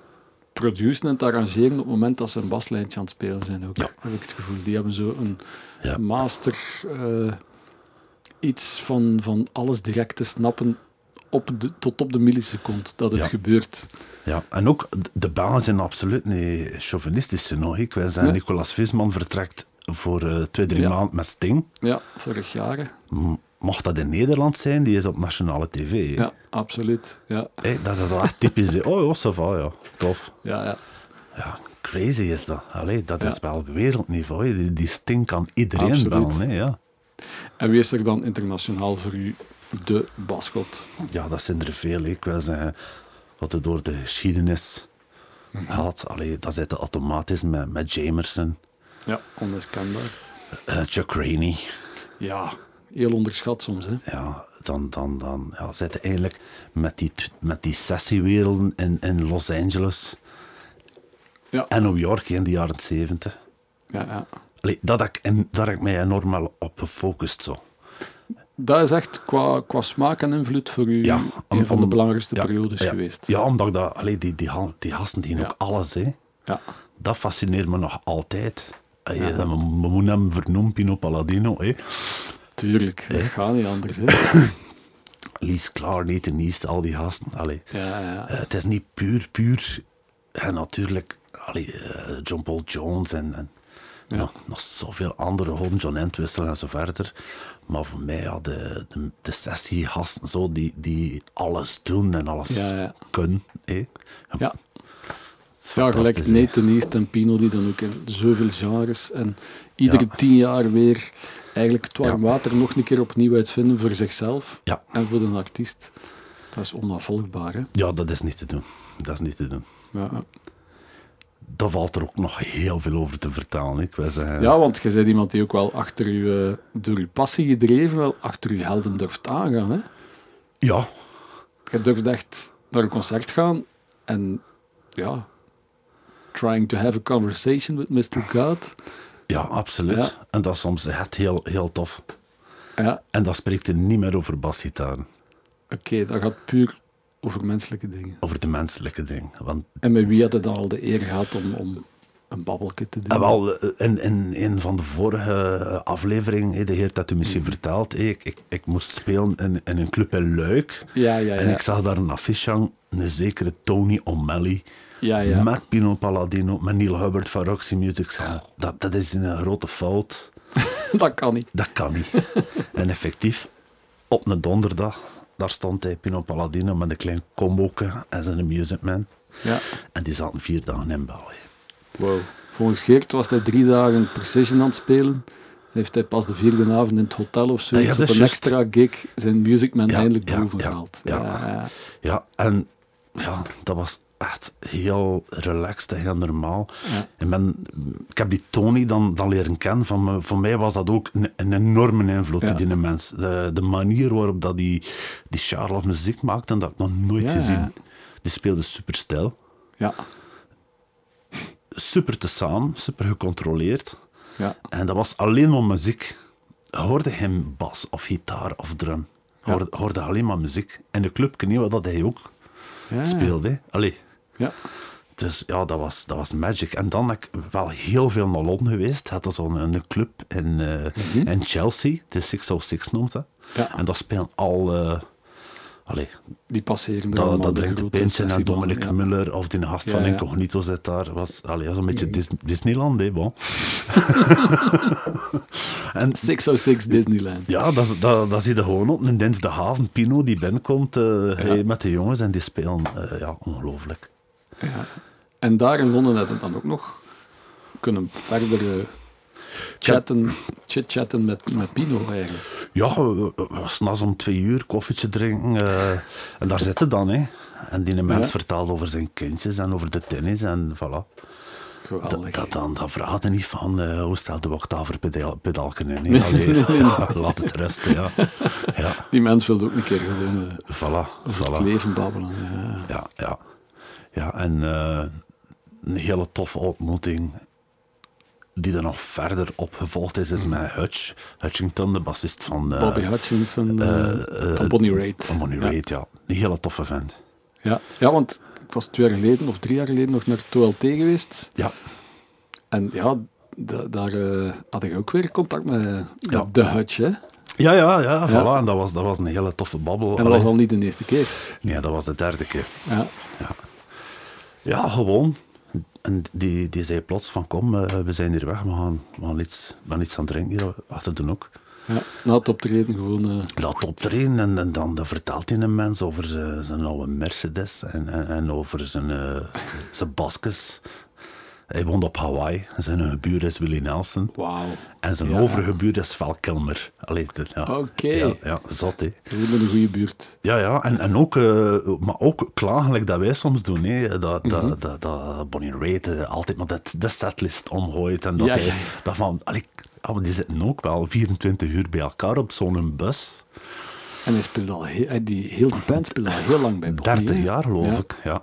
produceren en het arrangeren op het moment dat ze een baslijntje aan het spelen zijn. Ook, Ja. Heb ik het gevoel. Die hebben zo een Ja. master, eh, iets van, van alles direct te snappen op de, tot op de milliseconde dat het Ja. gebeurt. Ja, en ook d- de banen zijn absoluut niet chauvinistisch nog. Ik wij zijn Nee. Nicolaas Visman vertrekt voor eh, twee, drie Ja. maanden met Sting. Ja, vorig jaar. hè. M- Mocht dat in Nederland zijn, die is op nationale tv. hè. Ja, absoluut. Ja, Hé, dat is wel echt typisch. hè. Oh, ja, ça va, ja. Tof. ja, ja. Ja, crazy is dat. Allee, dat Ja. is wel wereldniveau. hè. Die, die Sting kan iedereen Absoluut. bellen. Hè, ja. En wie is er dan internationaal voor u de basgod? Ja, dat zijn er veel. hè. Ik wil zeggen, wat er door de geschiedenis Mhm. had. Allee, dat zit er automatisch met, met Jamerson, Ja, onmiskenbaar. eh, Chuck Rainey. Ja, heel onderschat soms, hè. Ja, dan, dan, dan ja, zit je eigenlijk met die, t- met die sessiewerelden in, in Los Angeles Ja, en New York in de jaren zeventig. ja, ja. Allee, dat heb ik, en, daar heb ik mij enorm wel op gefocust. Zo. Dat is echt qua, qua smaak en invloed voor u Ja, een om- van de om- belangrijkste ja, periodes ja, geweest. Ja, omdat ik dat, allee, die, die, han- die gasten die doen Ja. ook alles. Hè. ja. Dat fascineert me nog altijd. Allee, dat We, we moeten hem vernoemen, Pino Palladino. Hè. Tuurlijk, dat gaat niet anders. Hè. Lies Klaar, Nathan East, al die gasten. Allee. Ja, ja, Eh, ja. het is niet puur, puur. En natuurlijk, allee, eh, John Paul Jones en, en Ja. nog, nog zoveel andere goden, John Entwistle en zo verder. Maar voor mij, ja, de, de, de sessie gasten zo, die, die alles doen en alles Ja, ja. kunnen. hè. ja. Het is Ja, gelijk fantastisch, hè. Nathan East en Pino, die dan ook in zoveel genres en iedere Ja. tien jaar weer eigenlijk het warm Ja. water nog een keer opnieuw uitvinden voor zichzelf Ja. en voor de artiest. Dat is onafvolgbaar, hè. ja, dat is niet te doen. Dat is niet te doen. Ja, ja. Daar valt er ook nog heel veel over te vertalen. hè. Ik wil zeggen, Ja, want je bent iemand die ook wel achter uw, eh, door uw passie gedreven, wel achter uw helden durft aangaan, hè. ja, Je durft echt naar een concert gaan en ja, trying to have a conversation with Mr. God. ja, absoluut. Ja. En dat is soms echt heel, heel tof. Ja, En dat spreekt er niet meer over basgitaren. oké, dat gaat puur over menselijke dingen. over de menselijke ding. Want En met wie had het dan al de eer gehad om, om een babbelke te doen? eh, wel, eh, in, in een van de vorige eh, aflevering, eh, de heer dat u Hmm. misschien verteld, eh, ik, ik, ik moest spelen in, in een club in Luik. Ja, ja, ja. En ik zag daar een affiche hangen, een zekere Tony O'Malley, ja, ja. met Pino Palladino, met Neil Hubbard van Roxy Music. Ik zei, Dat, dat is een grote fout. dat kan niet. Dat kan niet. en effectief, op een donderdag, daar stond hij, Pino Palladino, met een klein comboke en zijn Music Man. Ja. En die zaten vier dagen in België. Wow. Volgens Geert was hij drie dagen Precision aan het spelen. Heeft hij pas de vierde avond in het hotel of zo Ja, ja, op dat is een juist. extra gig zijn Music Man Ja, eindelijk ja, boven ja, gehaald. ja. ja. Ja, en ja, dat was echt heel relaxed en heel normaal. Ja. Ik, ben, ik heb die Tony dan, dan leren kennen. Van me, voor mij was dat ook een, een enorme invloed, Ja. die die mens. De, de manier waarop dat die, die Charlotte muziek maakte, dat heb ik nog nooit Ja. gezien. Die speelde super stijl. ja. Super tezaam, super gecontroleerd. ja. En dat was alleen maar muziek. Je Hoorde hem bas of gitaar of drum. Je Ja. Hoorde, hoorde alleen maar muziek. En de club knew wat dat hij ook ja. speelde. hè. Allee. Ja. Dus ja, dat was, dat was magic. En dan heb ik wel heel veel naar Londen geweest. Het is zo'n een club in, eh, Mhm. in Chelsea, de 606 noemt dat. Ja. En dat spelen al... eh allee, Die passeren er dat, allemaal dat de drinkt de grote Pintje en sessiebanden, Dominic ja. Muller of die gast Ja, van ja. Incognito zit daar. Was, allee, dat is een beetje Dis- Disneyland, hè, bon. en 606 Disneyland. ja, dat, is- dat, dat zie je gewoon op een dinsdagavond. Pino die binnenkomt eh, hey, met de jongens en die spelen eh, ja, ongelooflijk. En daar in Londen hebben we dan ook nog kunnen verder eh, chatten, chit-chatten met, met Pino eigenlijk. Ja, we- we- we s'nachts om twee uur koffietje drinken. eh, en daar zitten dan, hè. En die mens Ja. vertelt over zijn kindjes en over de tennis en voilà. Dat, Geweldig. dat, dan, dat vraagt hij niet van, eh, hoe staat de octaverpedalken in? Nee, allee, laat het rusten, ja. Ja, Die mens wilde ook een keer gewoon eh, voilà, over voilà. het leven babbelen. Ja. Ja, ja. Ja, en eh, een hele toffe ontmoeting die er nog verder opgevolgd is, is met Hutch, Hutchington, de bassist van, eh, Mhm. Bobby Hutchinson eh, eh, van Bonnie Raitt. van Bonnie Ja. Raitt, ja. Een hele toffe vent. Ja. ja, want ik was twee jaar geleden of drie jaar geleden nog naar het OLT geweest. Ja, En ja, da- daar eh, had ik ook weer contact met, met Ja. de Hutch. Hè? En ja, ja, ja, voilà. En dat was, dat was een hele toffe babbel. dat was al niet de eerste keer. Nee, dat was de derde keer. Ja. Ja, gewoon. En die, die zei plots van, kom, eh, we zijn hier weg, we gaan, we gaan, iets, we gaan iets aan drinken hier achter de hoek. Ja, na het optreden gewoon. eh, dat optreden en, en dan dan vertelt hij een mens over zijn, zijn oude Mercedes en, en, en over zijn, eh, zijn baskes. Hij woont op Hawaii. Zijn gebuur is Willie Nelson. Wauw. En zijn Ja. overige buur is Val Kilmer. Allee, dat- ja. Oké. Ja, ja, zot hè. We wonen in een goede buurt. Ja, ja, en, en ook, eh, maar ook klagelijk dat wij soms doen. Hè. Dat, Mhm. dat, dat, dat Bonnie Raitt eh, altijd maar dat, de setlist omgooit. En dat, Ja, hij, ja, ja. dat van, allee, ja, maar die zitten ook wel 24 uur bij elkaar op zo'n bus. En hij speelde al heel, hij- die, heel die band speelde al heel lang bij Bonnie. 30 hè? jaar, geloof Ja. ik. Ja.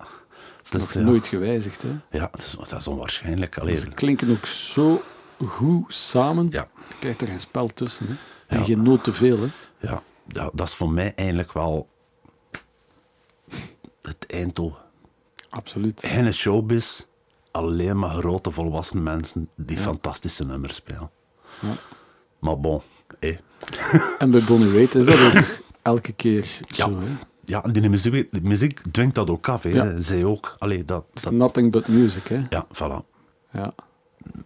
Dat Dus, is ja, nooit gewijzigd. Hè? ja, het is, dat is onwaarschijnlijk. Allee, Ze klinken ook zo goed samen. Ja. Je krijgt er geen spel tussen. Hè? En Ja. geen noot te veel. Hè? ja, ja, dat is voor mij eigenlijk wel het einddoel. Absoluut. Geen showbiz, alleen maar grote volwassen mensen die fantastische nummers spelen. Ja. Maar bon, hé. En bij Bonnie Raitt is dat ook elke keer Ja. zo. Hè? Ja, die muziek, die muziek dwingt dat ook af, hè. Ja. Zij ook. Allee, dat, dat, Nothing but music. Hè? ja, voilà. Ja.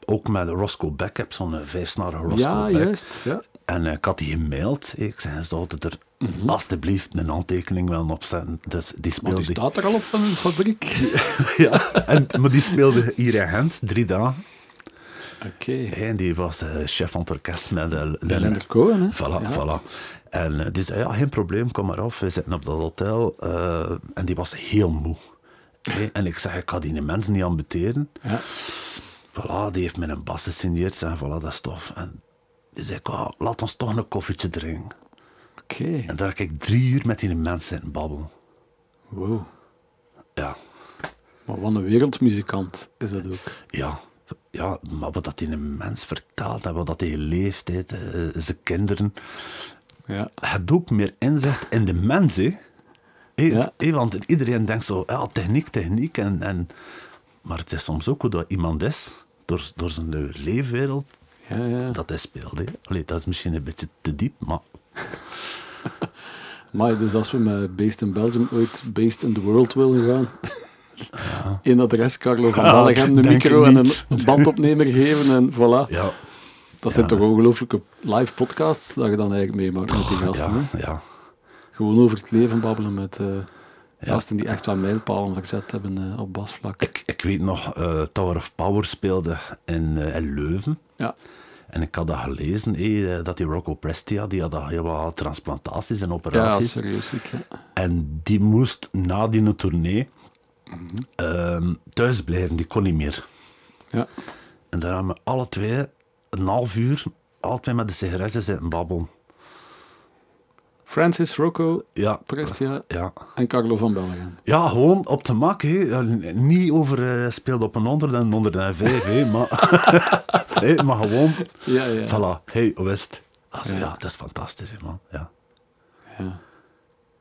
Ook met Roscoe Beck, heb zo'n eh, vijfsnarige Roscoe Ja, Beck. juist. Ja. En eh, ik had die gemaild. Ik zei, ze zouden er alstublieft een aantekening willen opzetten. Dus die Want Mhm. die speelde... staat er al op van hun fabriek. ja, en, maar die speelde hier in Gent, drie dagen. Oké. En die was eh, chef van het orkest met... eh, Bij de- Leonard Cohen, hè? Voilà, Ja. voilà. En eh, die zei, ja, geen probleem, kom maar af. We zitten op dat hotel. eh, en die was heel moe. Hè, en ik zeg, ik ga die mensen niet ambiteren. Ja. Voilà, die heeft met een bas gesigneerd. En voilà, dat is tof. En die zei, "Kom, laat ons toch een koffietje drinken. Oké. En daar heb ik drie uur met die mensen in babbel. Wow. Ja, Maar wat een wereldmuzikant is dat ook. ja, ja, maar wat dat die een mens vertelt en wat dat hij leeft, hè, de- zijn kinderen. Ja. Het ook meer inzicht in de mens, hè. Hè, Ja. hè, want iedereen denkt zo, ja, techniek, techniek. En, en... Maar het is soms ook hoe dat iemand is, door, door zijn leefwereld, Ja, ja. dat hij speelt. Hè. Allee, dat is misschien een beetje te diep, maar Maar dus als we met Based in Belgium ooit Based in the World willen gaan. Eén adres, Carlo van Ah, Bellegem, een denk ik micro en een niet. bandopnemer geven en voilà. ja. Dat zijn toch ongelooflijke live podcasts dat je dan eigenlijk meemaakt met die gasten. ja, hè? ja. Gewoon over het leven babbelen met eh, Ja. gasten die echt wat mijlpalen verzet hebben eh, op basvlak. Ik, ik weet nog, eh, Tower of Power speelde in, eh, in Leuven. Ja, En ik had dat gelezen, hé, eh, dat die Rocco Prestia, die had al heel wat transplantaties en ja operaties. serieus. Ik, eh. ja. en die moest na die tournee ehm, thuis blijven, die kon niet meer. Ja. En daar hebben we alle twee een half uur, alle twee met de sigaretten zitten babbelen. Francis, Rocco, Ja, Prestia ja. en Carlo van Bellegem. ja, gewoon op de mak. Hé. Ja, Niet over eh speelde op een 100 en 105, hé, maar, hé, maar gewoon Ja, ja. Voilà, hey, hoe is het? Ah, zo, Ja. ja. dat is fantastisch, hè, man. Ja. Ja.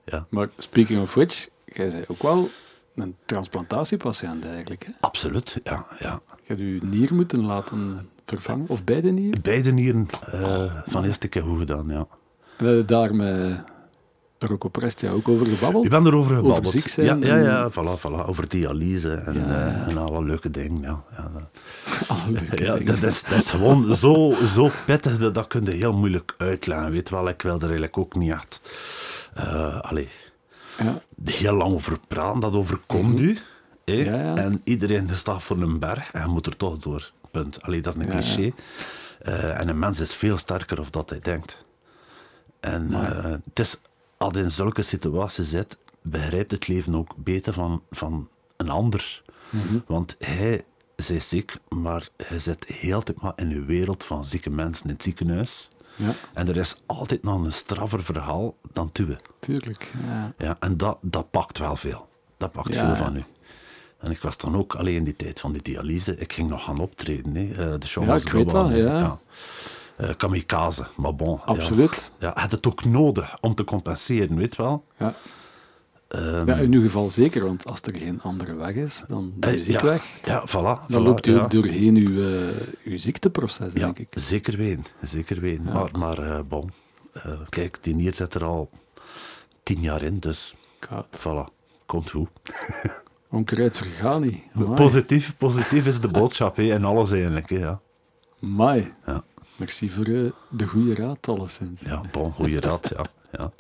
Ja. Maar speaking of which, jij bent ook wel een transplantatiepatiënt eigenlijk. Hè? Absoluut, ja, ja. Je hebt je nier moeten laten vervangen, of beide nieren. Beide nieren eh, van eerste keer goed gedaan, ja. We hebben daar met Rocco Prestia ook over gebabbeld. Ik ben erover gebabbeld. ziek zijn Ja, ja, en- ja, voilà, voilà. Over dialyse en, Ja, eh, ja. en alle leuke dingen, ja. ja, dat- Ah, leuk, Ja, hè. dat is, dat is gewoon zo, zo pittig, dat, dat kun je heel moeilijk uitleggen. Weet wel, ik wil er eigenlijk ook niet echt... eh allee, Ja. heel lang over praten, dat overkomt u. hè. hè? Mhm. Ja, ja. En iedereen staat voor een berg en je moet er toch door. Punt. Allee, dat is een Ja, ja. cliché. Eh, en een mens is veel sterker of dat hij denkt. En eh, het is, als je in zulke situaties zit, begrijpt het leven ook beter van, van een ander. Mhm. Want hij zij is ziek, maar hij zit heel de tijd maar in een wereld van zieke mensen in het ziekenhuis. Ja, En er is altijd nog een straffer verhaal dan tuwe. tuurlijk. Ja. Ja, en dat, dat pakt wel veel. Dat pakt Ja, veel ja. van u. En ik was dan ook alleen in die tijd van die dialyse. Ik ging nog gaan optreden. Hè. Eh, de show Ja, was ik wel weet wel, dat, hè. ja. Eh, kamikaze, maar bon. ja. Absoluut. Ja, had het ook nodig om te compenseren, weet wel. Ja. Ehm, ja, in uw geval zeker, want als er geen andere weg is, dan de eh, muziek ja, weg. Ja, voilà. Dan voilà, loopt u ja. ook doorheen uw, eh, uw ziekteproces, Ja, denk ik. zeker ween. Zeker ween. Maar, maar eh, bon. Eh, kijk, die nier zit er al tien jaar in, dus God, voilà. Komt goed. onkruid vergaan niet. Amai. Positief, positief is de boodschap hè, en alles eigenlijk. Hè, ja. Amai. Ja. Merci voor eh, de goede raad, alleszins. Ja, bon, goede raad, ja. ja.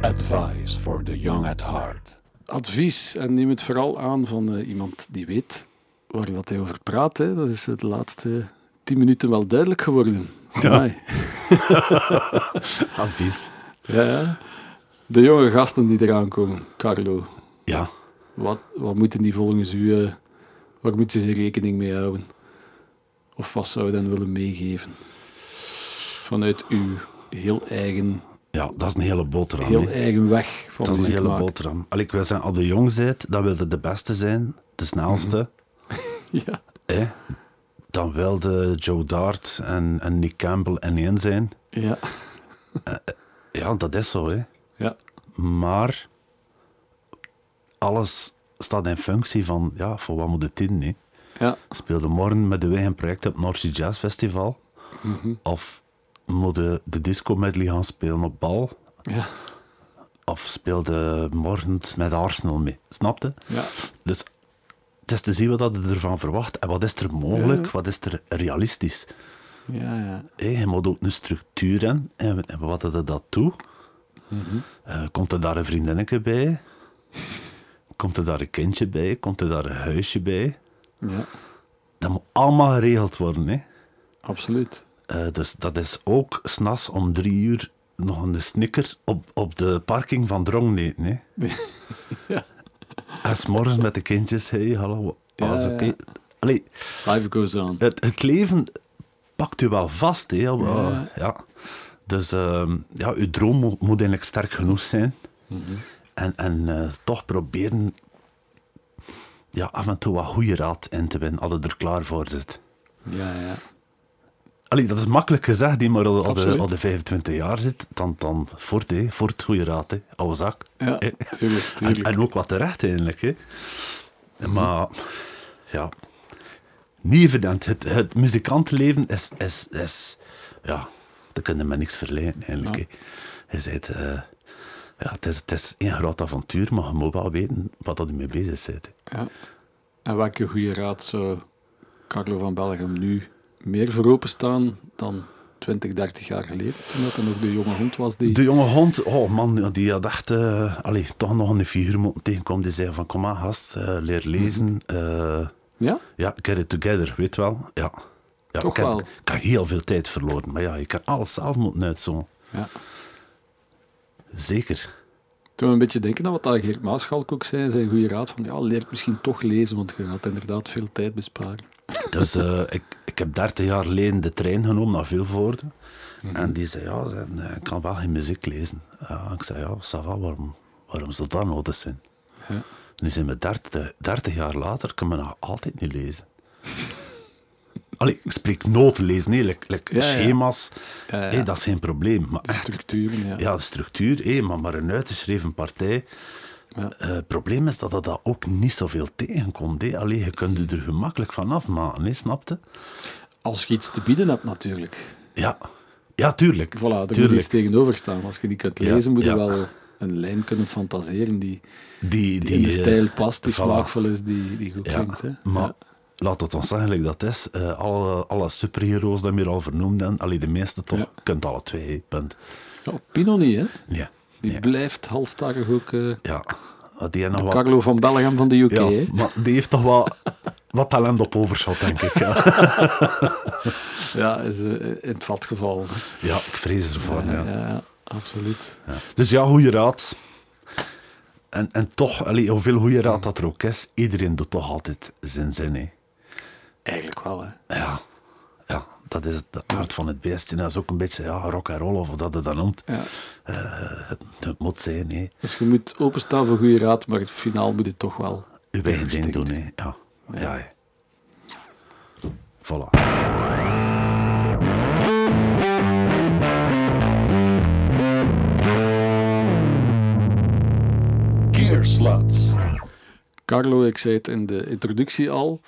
Advice for the young at heart. Advies, en neem het vooral aan van eh, iemand die weet waar dat hij over praat. Hè. Dat is eh, de laatste tien minuten wel duidelijk geworden. Amai. Advies. Ja. ja. De jonge gasten die eraan komen, Carlo. Ja, Wat, wat moeten die volgens u, eh, waar moeten ze rekening mee houden? Of wat zou je dan willen meegeven? Vanuit uw heel eigen, ja, dat is een hele boterham. heel hè. eigen weg van dat is een muziek hele maken. boterham. Allee, ik wil zeggen, als je jong bent, dan wil je de beste zijn, de snelste. Ja. hè. Dan wilde Joe Dart en, en Nick Campbell en één zijn. Ja. Ja, dat is zo, hè. ja. Maar alles staat in functie van, ja, voor wat moet het in, hè. Ja. Speelde morgen met de weg een project op het North Sea Jazz Festival. Mhm. Of moet je de disco medley gaan spelen op bal. Ja. Of speelde morgen met Arsenal mee. Snapte? Ja. Dus het is te zien wat dat je ervan verwacht. En wat is er mogelijk? Wat is er realistisch? Ja, ja. Hé, je moet ook een structuur hebben. En en wat doet dat toe? Eh, komt er daar een vriendinnetje bij? Komt er daar een kindje bij? Komt er daar een huisje bij? Ja, Dat moet allemaal geregeld worden. Hè? absoluut. Eh, dus dat is ook s'nachts om drie uur nog een snicker op, op de parking van Drongleet. Hè? En s'morgens met de kindjes, hey, hallo, alles Ja, oké. ja. Allee, Life goes on. het, het leven pakt u wel vast. Hè? Ja. Ja. ja. Dus ehm, ja, uw droom moet, moet eigenlijk sterk genoeg zijn. En, en eh, toch proberen ja, af en toe wat goede raad in te winnen, als je er klaar voor zit. Ja, ja. Allee, dat is makkelijk gezegd, die, maar als je Absoluut. al de 25 jaar zit, dan, dan voort, hè, voort goede raad, hè, oude zak. Ja, Eh. tuurlijk, En, tuurlijk. en ook wat terecht eigenlijk. Hè. Maar ja, niet evident. Het, het muzikantenleven is, is, is ja, daar kunnen we niks verleden eigenlijk. Ja. hè. Je zegt, eh, ja, het is, het is een groot avontuur, maar je moet wel weten wat dat je mee bezig bent. hè. Ja. En welke goede raad zou Carlo van Belgium nu meer voor openstaan dan 20, 30 jaar geleden, toen dat dan nog de jonge hond was die... De jonge hond, oh man, ja, die had echt eh, allee, toch nog een figuur moeten tegenkomen. Die zei van, kom maar gast, eh, leer lezen. Mm. eh, Ja? ja, get it together, weet wel. Ja. Ja, Toch ik heb- wel. Ik heb heel veel tijd verloren. Maar ja, je kan alles zelf moeten uitzoomen. Ja. Zeker. Toen we een beetje denken aan wat daar Geert Maaschalk ook zei, zijn goede raad van, ja, leer misschien toch lezen, want je gaat inderdaad veel tijd besparen. Dus eh, ik, ik heb 30 jaar geleden de trein genomen naar Vilvoorde. Mhm. En die zei, ja, zei, nee, ik kan wel geen muziek lezen. Ja, ik zei, ja, ça va, waarom, waarom zou dat nodig zijn? Ja. Nu zijn we 30, 30 jaar later, kunnen we nog altijd niet lezen. Allee, ik spreek noodlezen, nee, like- like Ja, ja. schema's, Ja, ja. hé, dat is geen probleem. Maar De echt, structuren, ja. ja, de structuur, hé, maar, maar een uitgeschreven partij. Ja. Eh, het probleem is dat dat dat ook niet zoveel tegenkomt. Hé. Allee, je kunt Hmm. je er gemakkelijk van afmaken, hé, snap je? Als je iets te bieden hebt natuurlijk. Ja. ja, tuurlijk. Voilà, er moet iets tuurlijk. tegenover staan. Als je die kunt Ja, lezen, moet je ja. wel een lijn kunnen fantaseren die, Die, die in de eh, stijl past, die voilà. smaakvol is, die, die goed Ja, klinkt. Hè? maar Ja. laat het ons zeggen like dat is. eh, alle, alle superheroes die we hier al vernoemd hebben, allee, de meeste toch, Ja. kunt alle twee, punt. Ja, Pino niet, hè? Ja. Die ja. blijft halstarrig ook eh, ja. Die heeft nog wat Carlo van Bellingham van de UK, Ja, hè? maar die heeft toch wel wat talent op overschot, denk ik. Ja, Ja, is eh, in het vat gevallen. ja ik vrees ervan. Ja, Ja. ja, absoluut. Ja. Dus ja, goede raad. En, en toch, allee, hoeveel goede raad dat er ook is, iedereen doet toch altijd zijn zin. Hè. Eigenlijk wel, hè? Ja. ja, dat is het hart van het beest. En dat is ook een beetje ja, rock and roll, of wat dat het dan noemt. Ja. Eh, het, het moet zijn, hè. Dus je moet openstaan voor goede raad, maar het finaal moet je toch wel. uw eigen ding Instinct. doen. Hè. Ja. Ja. hè. Voilà. Keerslats. Carlo, ik zei het in de introductie al.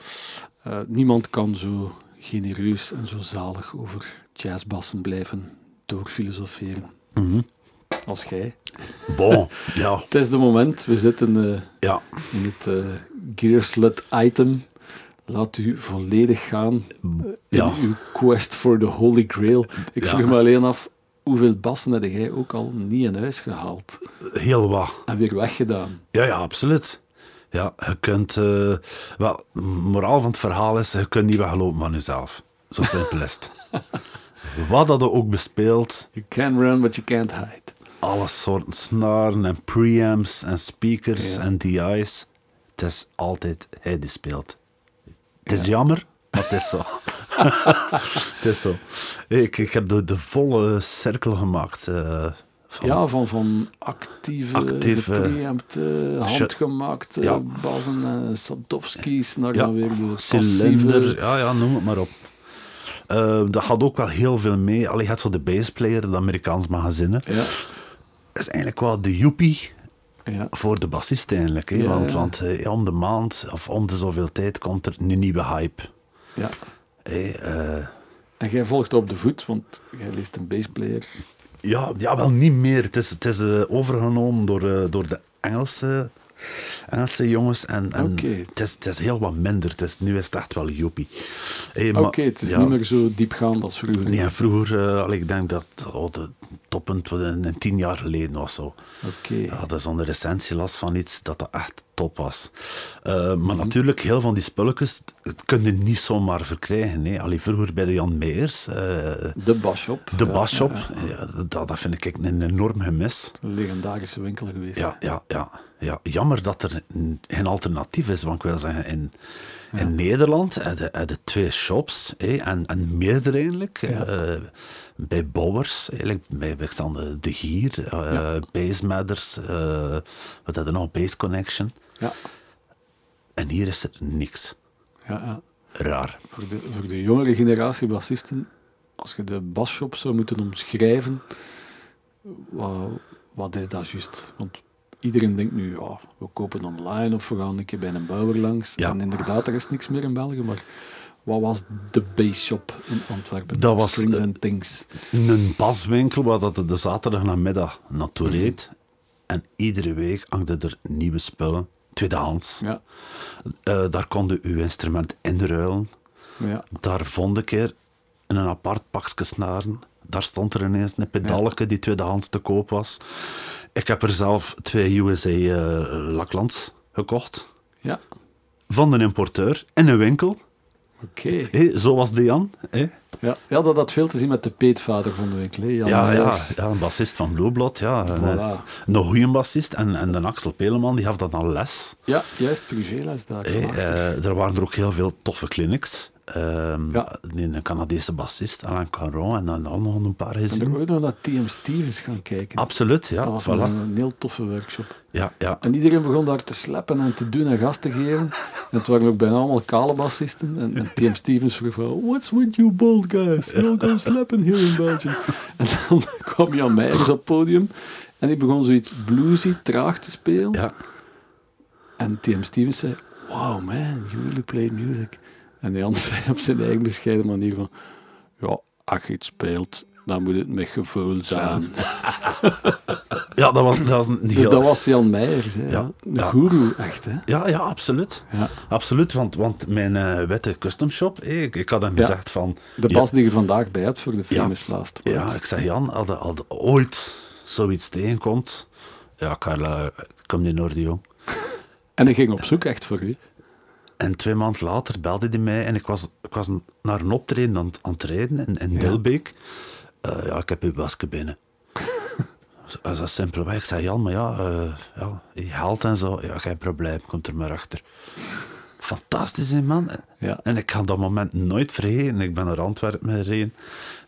eh, niemand kan zo genereus en zo zalig over jazzbassen blijven doorfilosoferen als jij. Mhm. Bon, ja. Het is de moment. We zitten eh, ja. in het eh Gearslet item. Laat u volledig gaan eh, in Ja. uw quest for the Holy Grail. Ik Ja. vroeg me alleen af, hoeveel bassen heb jij ook al niet in huis gehaald Heel wat. en weer weggedaan? Ja, ja, absoluut. Ja, je kunt... eh, wel, m- moraal van het verhaal is, je kunt niet weglopen van jezelf. Zo simpel is het. Wat dat je ook bespeelt, You can run, but you can't hide. alle soorten snaren en preamps en speakers Ja. en DI's, het is altijd hij die speelt. Het is jammer, maar het is zo. het is zo. Ik, ik heb de, de volle cirkel gemaakt eh, van Ja, van, van actieve, Actieve- gepreempte, handgemaakte Ja. bassen en Sadowski's naar Ja, dan weer de cilinder, passieve... ja, ja, noem het maar op. Eh, dat gaat ook wel heel veel mee. Allee, je hebt zo de bassplayer, de Amerikaans magazinnen. Ja, Dat is eigenlijk wel de joepie ja. voor de bassist eigenlijk. Hè? Ja, want ja. want eh, om de maand of om de zoveel tijd komt er een nieuwe hype. ja. Hè? eh, En jij volgt op de voet, want jij leest een bassplayer. ja, ja, wel niet meer. Het is, het is eh, overgenomen door, eh, door de Engelse, Engelse jongens. En, en Oké. het, is, het is heel wat minder. Het is, nu is het echt wel joepie. Hey, Oké, maar- het is ja. niet meer zo diepgaand als vroeger. Nee, en vroeger, eh, allee, ik denk dat het de toppunt wat een, een tien jaar geleden was zo. Oké. Ja, dat is onder recensie last van iets dat dat echt top was. Eh, maar natuurlijk, heel van die spulletjes, het kun je niet zomaar verkrijgen. Nee. Allee, vroeger bij de Jan Meijers, eh, De Bashop. de Basshop, ja, dat, dat vind ik een enorm gemis. Een legendarische winkel geweest. Ja, ja, ja, ja. Jammer dat er n- geen alternatief is. Want ik wil zeggen, in, in Nederland heb je, heb je twee shops. hè, en, en meerdere eigenlijk. eh, bij Bouwers, eigenlijk, bij, bij Xander De Gier, eh Base Matters. eh, wat hadden we nog? Base Connection. Ja, En hier is er niks. ja, ja. Raar. Voor, de, voor de jongere generatie bassisten, als je de Bashop zou moeten omschrijven, wat, wat is dat juist? Want iedereen denkt nu, ja, we kopen online of we gaan een keer bij een bouwer langs. Ja. En inderdaad, er is niks meer in België, maar wat was de Basshop in Antwerpen? Dat was, Strings eh, and Things. Een baswinkel waar dat er de zaterdag namiddag naartoe reed. En iedere week hangden er nieuwe spullen. Tweedehands. Ja, Eh, daar kon je uw instrument inruilen. ja. Daar vond ik er in een apart pakje snaren. Daar stond er ineens een pedalke die tweedehands te koop was. Ik heb er zelf twee USA eh Laklands gekocht. ja. Van een importeur in een winkel. oké. Hé, zo was Dian. Hé. Ja. ja, dat had veel te zien met de peetvader van de winkel. hè, Jan Ja, ja, Meijers. ja, een bassist van Blueblad. Ja. En, eh, Voilà. Een goede bassist. En, en de Axel Peleman die gaf dat dan les. Ja, juist, privéles daar. Hé, prachtig. eh, er waren er ook heel veel toffe clinics. Ehm, Ja. Een Canadese bassist, Alain Caron. En dan nog een paar Ik ben gezien. er ooit nog naar TM Stevens gaan kijken. Absoluut, ja. dat was voilà. een, een heel toffe workshop. Ja, ja. En iedereen begon daar te slappen en te doen en gas te geven. En het waren ook bijna allemaal kale bassisten. En, en TM Stevens vroeg van, what's with you bold guys? Welcome slappen here in Belgium. En dan kwam Jan Meijers op het podium. En die begon zoiets bluesy, traag te spelen. Ja, En TM Stevens zei, wow man, you really play music. En die ander zei op zijn eigen bescheiden manier van, ja, als je iets speelt, Dan moet het met gevoel zijn. Ja, dat was, dat was een Dus heel... dat was Jan Meijers, hè? Ja. Een Ja. goeroe, echt, hè? Ja, ja, absoluut. Ja. Absoluut, want, want mijn eh, wette custom shop, eh, ik, ik had hem Ja. gezegd van... De ja, bas die je vandaag bij hebt voor de Ja. famous last words. Ja, ik zeg Jan, als je- als je ooit zoiets tegenkomt... Ja, Carla, kom je naar die jong. En ik ging op zoek echt voor u. En twee maanden later belde hij mij en ik was, ik was naar een optreden aan, het- aan het rijden in, in Dilbeek. Eh, ja, ik heb uw wasken binnen. Zo- Dat is dat simpelweg. Ik zei, Jan, maar ja, eh ja, je haalt en zo. Ja, geen probleem, komt er maar achter. Fantastisch, hè, man. Ja. En ik ga dat moment nooit vergeten. Ik ben naar Antwerpen gereden.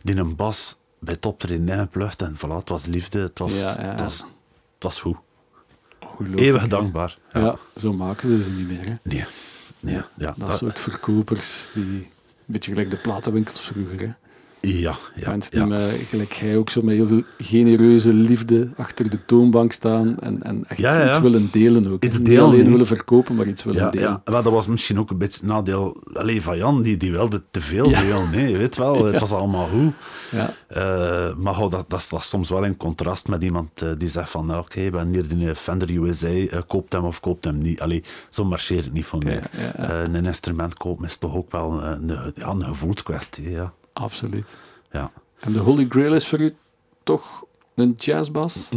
Die een bas bij het optreden ingeplucht. En voilà, het was liefde. Het was, Ja, ja. Het was, het was goed. Ongelooflijk. Eeuwig dankbaar. Ja. Ah. Ja. zo maken ze ze niet meer, hè? Nee. nee. Ja, Eh, Dat dat- soort verkopers die... Een beetje gelijk de platenwinkels vroeger, hè? ja, ja, Mensen die ja. met, gelijk jij ook zo met heel veel genereuze liefde achter de toonbank staan en, en echt Ja, ja, ja. iets willen delen ook. hè. Iets Niet delen, alleen hè. willen verkopen, maar iets willen Ja, delen. ja. Maar dat was misschien ook een beetje het nadeel allee, van Jan, die, die wilde te veel Ja. deel. Nee, je weet wel, het was allemaal goed. Ja. Eh, maar goh, dat, dat staat soms wel in contrast met iemand eh, die zegt van, nou, oké, we hebben hier die eh, Fender USA, eh, koopt hem of koopt hem niet. Allee, zo marcheert het niet voor mij. Ja, ja, ja. Eh, een instrument kopen is toch ook wel eh, een, ja, een gevoelskwestie, ja. Absoluut. ja. En de Holy Grail is voor u toch een jazzbas?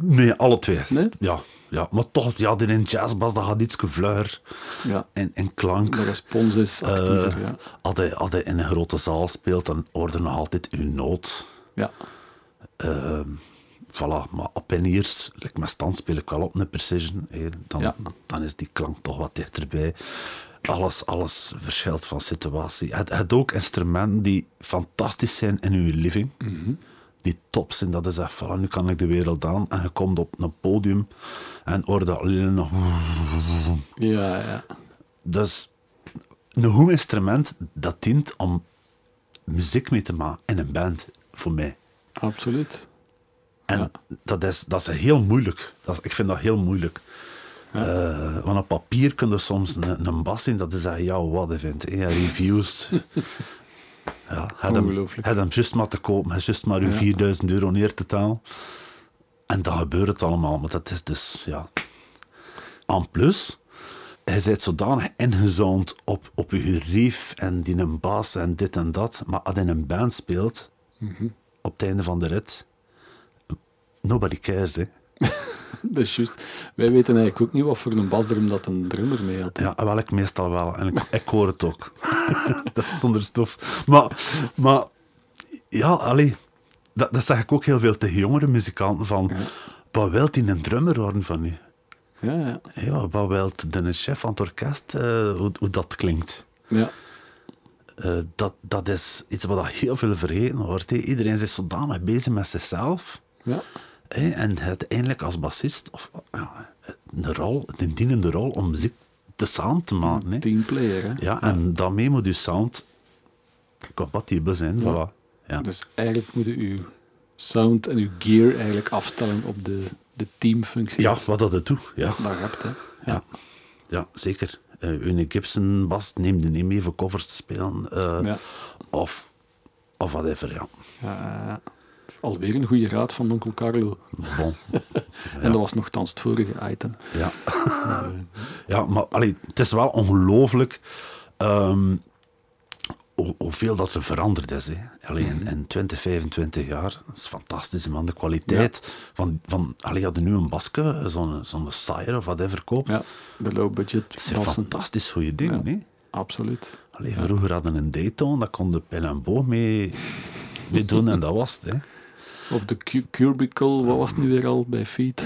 Nee, alle twee. Nee? Ja, ja, maar toch, ja, die in jazzbas, dat had iets gevluier Ja. en, en klank. De respons is actiever, Eh. ja. Als je, als je in een grote zaal speelt, dan hoorde je nog altijd uw nood. ja. Ehm, voilà, maar op en hier, like met stand speel ik wel op een precision. hè. dan, Ja. dan is die klank toch wat dichterbij. Alles, alles verschilt van situatie. Je hebt- je hebt ook instrumenten die fantastisch zijn in uw living. Mhm. Die top zijn, dat is echt van, nu kan ik de wereld aan. En je komt op een podium en hoort dat alleen nog... Ja, ja. Dus een goed instrument, dat dient om muziek mee te maken in een band, voor mij. Absoluut. En Ja. dat, is, dat is heel moeilijk. Dat is, ik vind dat heel moeilijk. Eh, want op papier kun je soms een, een bas zien, dat is echt ja, wat vindt. hè, reviews. ja, had hem, Ongelooflijk. had hem juist maar te kopen, had juist maar uw 4000 euro neer te talen. En dan gebeurt het allemaal. Maar dat is dus, ja... En plus, hij bent zodanig ingezoomd op, op je gerief en die een baas en dit en dat. Maar als je in een band speelt, op het einde van de rit, nobody cares. Hè. Dat is juist. Wij weten eigenlijk ook niet wat voor een basdrum dat een drummer mee had. Ja, wel, ik meestal wel. En ik, ik hoor het ook. dat is zonder stof. Maar, maar ja, allee, dat, dat zeg ik ook heel veel tegen jongere muzikanten. Van, Wat wilt die een drummer worden van u? Ja, ja. Ja, wat wilt de chef van het orkest, eh, hoe, hoe dat klinkt? ja. Eh, dat, dat is iets wat heel veel vergeten wordt. hè. Iedereen is zodanig bezig met zichzelf. ja. hè, en uiteindelijk als bassist, of, ja, een rol, een dienende rol om muziek te samen te maken. hè. Teamplayer, hè. Ja, en daarmee moet je sound compatibel zijn. Voilà. Ja. Dus eigenlijk moeten uw sound en uw gear eigenlijk afstellen op de, de teamfunctie ja, wat dat het doet. Ja, dat je hebt. Hè. ja. ja zeker. Eh een Gibson bas neem die niet mee voor covers te spelen. eh, Ja. Of, of whatever, ja. Ja, het is alweer een goede raad van onkel Carlo. Bon. En dat was nogthans het vorige item. Ja, ja maar allee, het is wel ongelooflijk ehm, hoe- hoeveel dat er veranderd is. Hè. Allee, Mhm. in, in 20, 25 jaar, dat is fantastisch, man. De kwaliteit van... van allee, hadden nu een baske, zo'n zo'n Sire of whatever koopt. Ja, de low Het budget zijn bassen. fantastisch goede dingen. Ja. hè. Absoluut. Allee, vroeger hadden we een Dayton, daar kon de pijl en boog mee, mee doen en dat was het. Hè. Of de cu- cubicle, wat was het nu weer al bij Feet?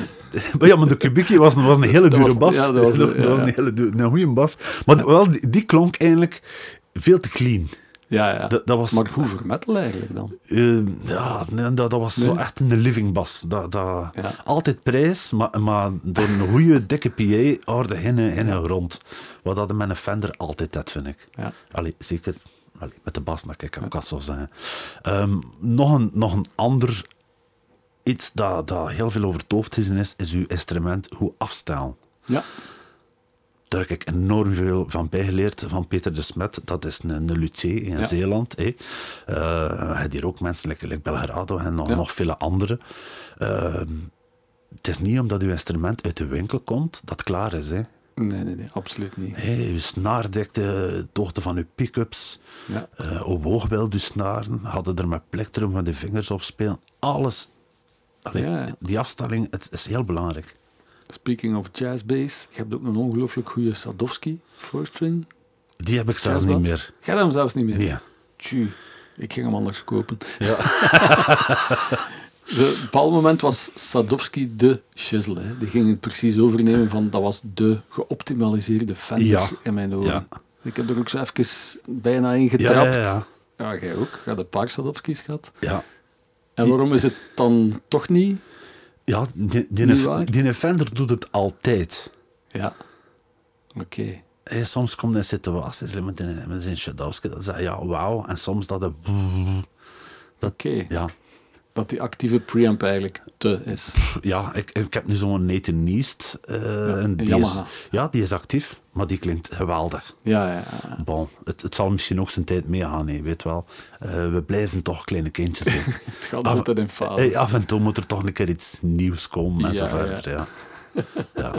Maar ja, maar de Kubiki was, was een hele dure was- bas. ja, dat was- ja, ja. een hele dure, een goede bas. Maar wel, die, die klonk eigenlijk veel te clean. Ja, ja. Dat, dat was, Maar goed voor metal eigenlijk dan. eh, ja, nee, dat, dat was zo Nee? echt een living bas. Dat, dat, Ja. Altijd prijs, maar, maar door een goede, dikke PA hoorde hinnen hinnen rond. Wat dat met een Fender altijd had, vind ik. Ja. Allee, zeker allee, met de bas, dat ik kan zo zeggen. Ehm, nog, een, nog een ander iets dat, dat heel veel over het hoofd is, is uw instrument hoe afstellen. Ja, Daar heb ik enorm veel van bijgeleerd. Van Peter de Smet, dat is een, een luthier in Zeeland. Hè. Eh, hij hier ook mensen, like, like Belgrado en nog, Ja. nog vele anderen. Ehm, het is niet omdat uw instrument uit de winkel komt dat het klaar is. Hè. Nee, nee, nee, absoluut niet. Hey, uw snaardekte, de hoogte van uw pick-ups, Ja. eh oog wel uw snaren, hadden er met plektrum van de vingers op spelen. Alles. Allee, Ja, ja. Die afstelling het is heel belangrijk. Speaking of jazz bass, je hebt ook een ongelooflijk goede Sadowski fourstring. Die heb ik zelfs jazzbas. niet meer. Jij hebt hem zelfs niet meer. Nee. Tju, ik ging hem anders kopen. Zo, op een bepaald moment was Sadowski de shizzle. Hè. Die ging het precies overnemen van dat was de geoptimaliseerde Fender Ja. in mijn ogen. Ja. Ik heb er ook zo even bijna in Ja, getrapt. ja, ja. Ja, jij ook. Je hebt een paar Sadowskis gehad. ja. En waarom is het dan toch niet? Ja, die, die, Niet waar? die Fender doet het altijd. Ja. Oké. Hey, soms komt een situatie like met een, met een Shadowski, dat zegt ja, wauw. En soms dat het... Oké. Ja, Dat die actieve preamp eigenlijk te is. ja ik, ik heb nu zo'n Nathan Neist. eh, en die is, Yamaha. ja, die is actief, maar die klinkt geweldig. Ja, ja, ja. Bon, het, het zal misschien ook zijn tijd meegaan, hè, weet wel. Eh, we blijven toch kleine kindjes. hè. Het gaat Af- altijd in fases. Hey, af en toe moet er toch een keer iets nieuws komen en Ja, zo ja. verder. Ja. Ja.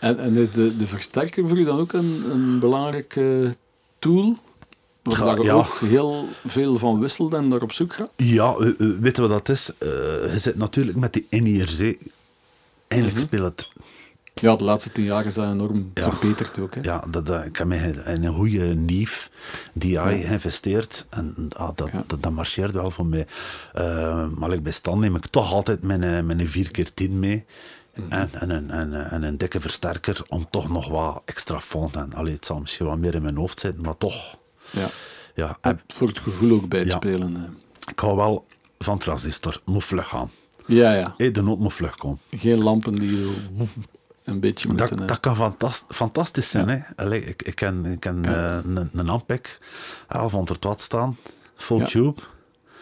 En, en is de, de versterker voor u dan ook een, een belangrijk eh, tool? Waar Ja, je ja. ook heel veel van wisselt en daar op zoek gaat? Ja, eh, eh, weet je wat dat is? Eh, je zit natuurlijk met die in-ears. hè. Eigenlijk speelt het... Ja, de laatste tien jaar is dat enorm Ja. verbeterd ook. Hè? Ja, dat, dat, ik heb mij in een goede nief die hij geïnvesteerd. En ah, dat, Ja. dat, dat marcheert wel voor mij. Eh, maar ik bij stand neem ik toch altijd mijn, eh, mijn 4x10 mee. En, en, een- en, eh, en een dikke versterker om toch nog wat extra fond. En, allee, het zal misschien wat meer in mijn hoofd zitten, maar toch. Ja. Ja, En en voor het gevoel ook bij het Ja. spelen. hè. ik hou wel van transistor. Moet vlug gaan. Ja, ja. Hey, de nood moet vlug komen. Geen lampen die zo een beetje moeten... eh, Dat, hè. dat kan fantas- fantastisch zijn. Hè? Allee, ik, ik ken, ik ken eh, een, een Ampeg 1100 watt staan, full Ja. tube.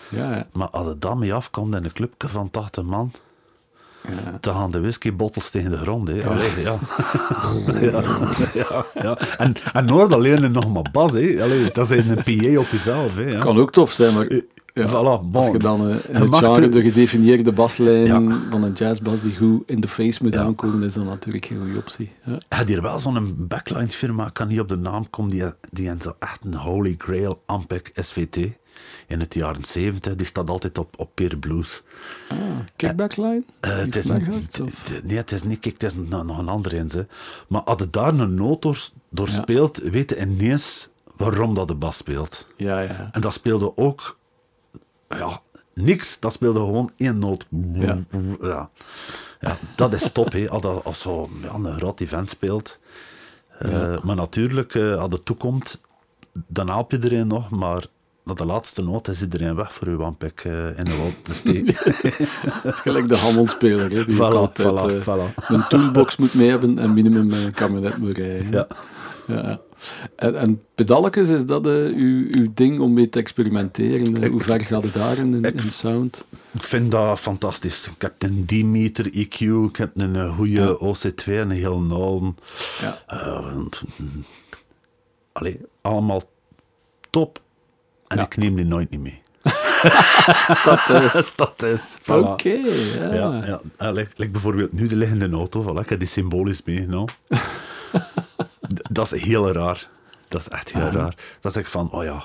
Ja, ja. Maar als het dan mee afkomt in een clubje van 80 man, ja. dan gaan de whiskybottels tegen de grond. Hè? Allee, ja. ja. ja, ja. En, en hoor alleen er nog maar bas. Hè? Allee, dat is een PA op jezelf. Hè? Ja. Eh, Kan ook tof zijn, maar... Ja. voilà, bon. Als je dan eh, in Je het mag genre er- de gedefinieerde baslijn Ja. van een jazzbas die goed in de face moet Ja. aankomen, is dat natuurlijk geen goede optie. Ja. Je hebt hier wel zo'n backline firma, ik kan niet op de naam komen, die, die en zo echt een holy grail Ampeg SVT in het jaren 70, die staat altijd op, op Peer Blues. Kickbackline? Eh, het, is, niet. het- nee, het is niet, kijk, het is nog nog een ander in. Hè. Maar als je daar een noot door, door speelt, weet je ineens waarom dat de bas speelt. Ja, ja. En dat speelde ook, ja, niks. Dat speelde gewoon één noot. Ja. Ja. Ja. dat is top, hè. Als, dat- als zo ja, een groot event speelt. Eh, Maar natuurlijk, eh, als het toekomt, dan help je iedereen nog, maar... na de laatste noot is iedereen weg voor uw wampik eh in de wand te steken. Dat is gelijk de handelspeler. Hè, die ook Voilà, altijd, voilà, eh, voilà. Een toolbox moet mee hebben en minimum eh, een kabinet moet rijden. Ja. Ja. En, en pedalletjes, is dat eh, uw, uw ding om mee te experimenteren? Eh, Hoe ver gaat het daar in, in, in sound? Ik vind dat fantastisch. Ik heb een D-meter EQ, ik heb een eh, goede OC2 en een heel nauw. Ja. Eh, want, mm, allee, allemaal top. En Ja. ik neem die nooit niet mee. Staat thuis. Dus dat is. Voilà. Oké, ja. Ja, ja. Eh, like, like bijvoorbeeld nu de liggende auto, voilà, ik heb die symbolisch meegenomen. D- dat is heel raar. Dat is echt heel raar. Dat zeg ik van, oh ja. Een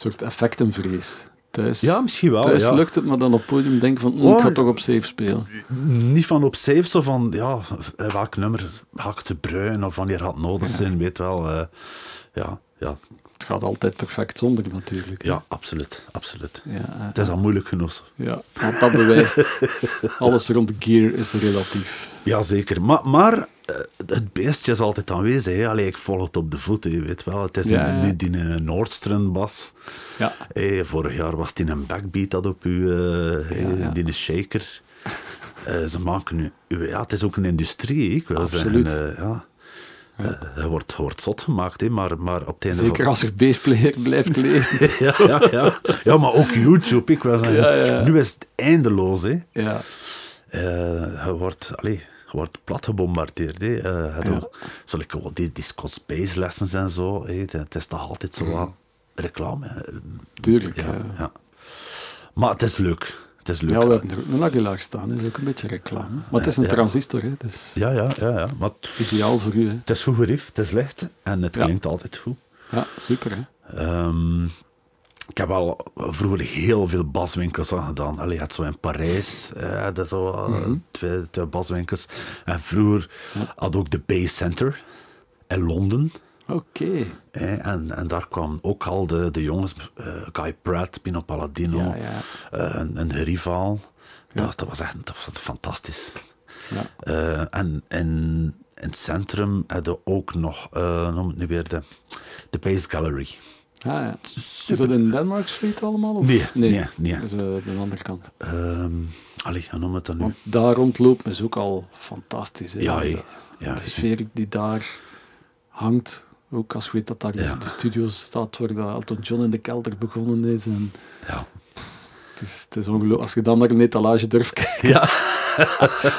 soort effectenvrees. Thuis, Ja, misschien wel. thuis Oh, ja. lukt het, maar dan op het podium denk van, oh, ik Oh. ga toch op safe spelen. niet van op safe, zo van, ja, eh, welk nummer ga ik te bruin of wanneer gaat het nodig zijn, weet wel. eh, ja, ja, Het gaat altijd perfect zonder natuurlijk. hè. ja, absoluut, absoluut. Ja, eh, Het is al moeilijk genoeg. ja, want dat bewijst, alles rond gear is relatief. Jazeker, maar, maar eh, het beestje is altijd aanwezig. Hè. Allee, ik volg het op de voet, hè, weet wel. Het is Ja, ja. niet, niet die eh, Nordstrand-bas. Ja, Hey, vorig jaar was het in een backbeat dat op u, eh, Ja, ja. die een shaker. Eh, ze maken nu, ja, het is ook een industrie, hè, ik wil Absoluut. zeggen. eh, ja. Eh, je wordt, je wordt zot gemaakt, hè, maar, maar op het einde zeker van... als er baseplayer blijft lezen. Ja, ja, ja. ja, maar ook YouTube, ik wil zeggen. Ja, ja. Nu is het eindeloos, hè. Ja, Eh, je wordt, allee, je wordt plat gebombardeerd. Hè. Eh, het Ja. ook, zo, like, wat die, die Scott Space lessons en zo. hè. het is toch altijd zo wat reclame. hè. Tuurlijk. Ja, Mm. Ja, ja. Maar het is leuk. Het is leuk. ja we hebben er ook een Aguilar staan, dat is ook een beetje reclame. Maar het is een Ja. transistor, hè, dus ja, ja, ja, ja. Maar het- ideaal voor u. Hè. het is goed gerief, het is licht en het Ja. klinkt altijd goed. Ja, super hè. Ehm, ik heb al vroeger heel veel baswinkels aan gedaan. Allee, je had zo in Parijs, eh, dat is zo eh, Mhm. twee, twee baswinkels. En vroeger had ook de Bay Center in Londen. Oké. eh, en, en daar kwamen ook al de, de jongens, eh, Guy Pratt, Pino Palladino, Ja, ja. eh, een, een rival. Ja. Dat, dat was echt dat was fantastisch. Ja. Eh, en in, in het centrum hadden we ook nog, eh, noem het nu weer, de, de Base Gallery. Ah, ja. Is dat in Denmark Street allemaal? Of? Nee, nee, nee. Dat is eh, de andere kant. Ehm allee, hoe noem het dan nu? Want daar rondlopen is ook al fantastisch. Hè? ja, Want, hé. eh, ja, de sfeer die daar hangt. Ook als je weet dat daar de- Ja. de studio staat waar dat Elton John in de kelder begonnen is. En ja. het is, het is ongelooflijk. Als je dan naar een etalage durft kijken, Ja.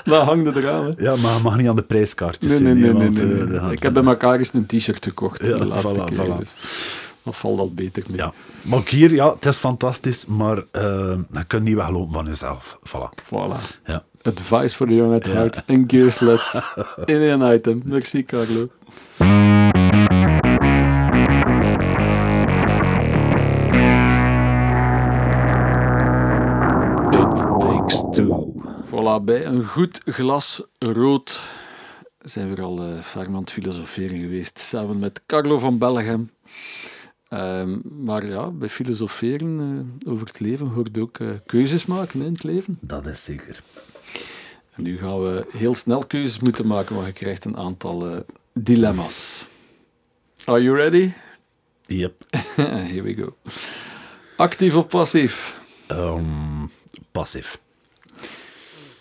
dan hangt het eraan. Hè? ja, maar je mag niet aan de prijskaartjes Nee, nee, zien, nee. hè, nee, want, nee, eh, nee. dat gaat- Ik heb bij elkaar eens een t-shirt gekocht Ja, de laatste voilà, keer. voilà. Dus dat valt al beter mee. ja. Maar ook hier, ja, het is fantastisch, maar eh je kunt niet weglopen van jezelf. Voilà. Voilà. Ja. Advice for the young at heart en Gears Let's in een item. Merci Carlo. It takes two. Voilà, bij een goed glas rood zijn we er al eh ferm aan het filosoferen geweest, samen met Carlo van Bellegem. Ehm, maar ja, bij filosoferen eh, over het leven hoort ook eh, keuzes maken hè, in het leven. Dat is zeker. En nu gaan we heel snel keuzes moeten maken, want je krijgt een aantal eh, dilemma's. Are you ready? Yep. Here we go. Actief of passief? Ehm, passief.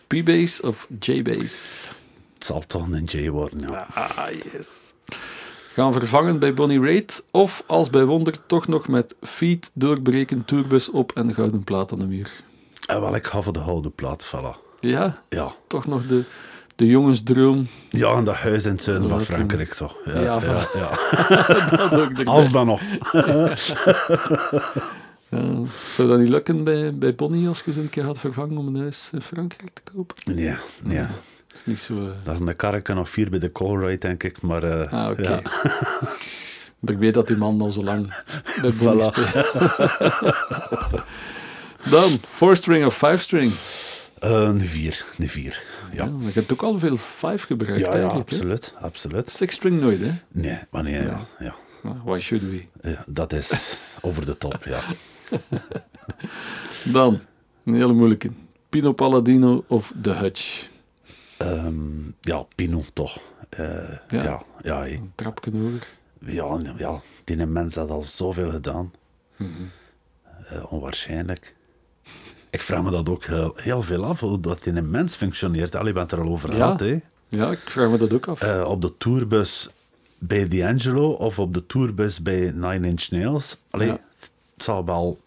P-base of J-base? Het zal toch een J worden, ja. Ah, yes. Gaan vervangen bij Bonnie Raitt of als bij Wonder toch nog met feet doorbreken, tourbus op en een gouden plaat aan de muur? En wel, ik ga voor de houden plaat, voilà. Ja, Ja. toch nog de, de jongensdroom. Ja, en dat huis in het zuiden van Dat, eh, Frankrijk, zo. Ja, ja, ja, ja, voilà. Dat ook erbij. Als dan nog. Ja, zou dat niet lukken bij, bij Bonnie als je ze een keer had vervangen om een huis in Frankrijk te kopen? Nee, nee. Dat is niet zo... eh, Dat is een karreken of vier bij de Colruyt, denk ik, maar... eh, Ah, oké. ja. Want ik weet dat die man al zo lang bij Bonnie Voilà. speelt. Dan, four string of five string. Eh, een vier, een vier. Ja. Ja, maar je hebt ook al veel five gebruikt ja, ja eigenlijk. hè? absoluut, absoluut. Six string nooit, hè? Nee, maar nee, ja. Ja, Nou, Why should we? ja, dat is over de top, ja. Dan, een hele moeilijke. Pino Palladino of The Hutch? Ehm, ja, Pino toch. Eh, Ja. ja. Ja, ja, hé. Een trapje over. ja, nee, ja, die mens had al zoveel gedaan. Mhm. Eh, onwaarschijnlijk. Ik vraag me dat ook heel, heel veel af, hoe dat in een mens functioneert. Allee, je bent er al over gehad, hè. Ja, ik vraag me dat ook af. Eh, op de tourbus bij D'Angelo of op de tourbus bij Nine Inch Nails. Allee, Ja. het zal wel...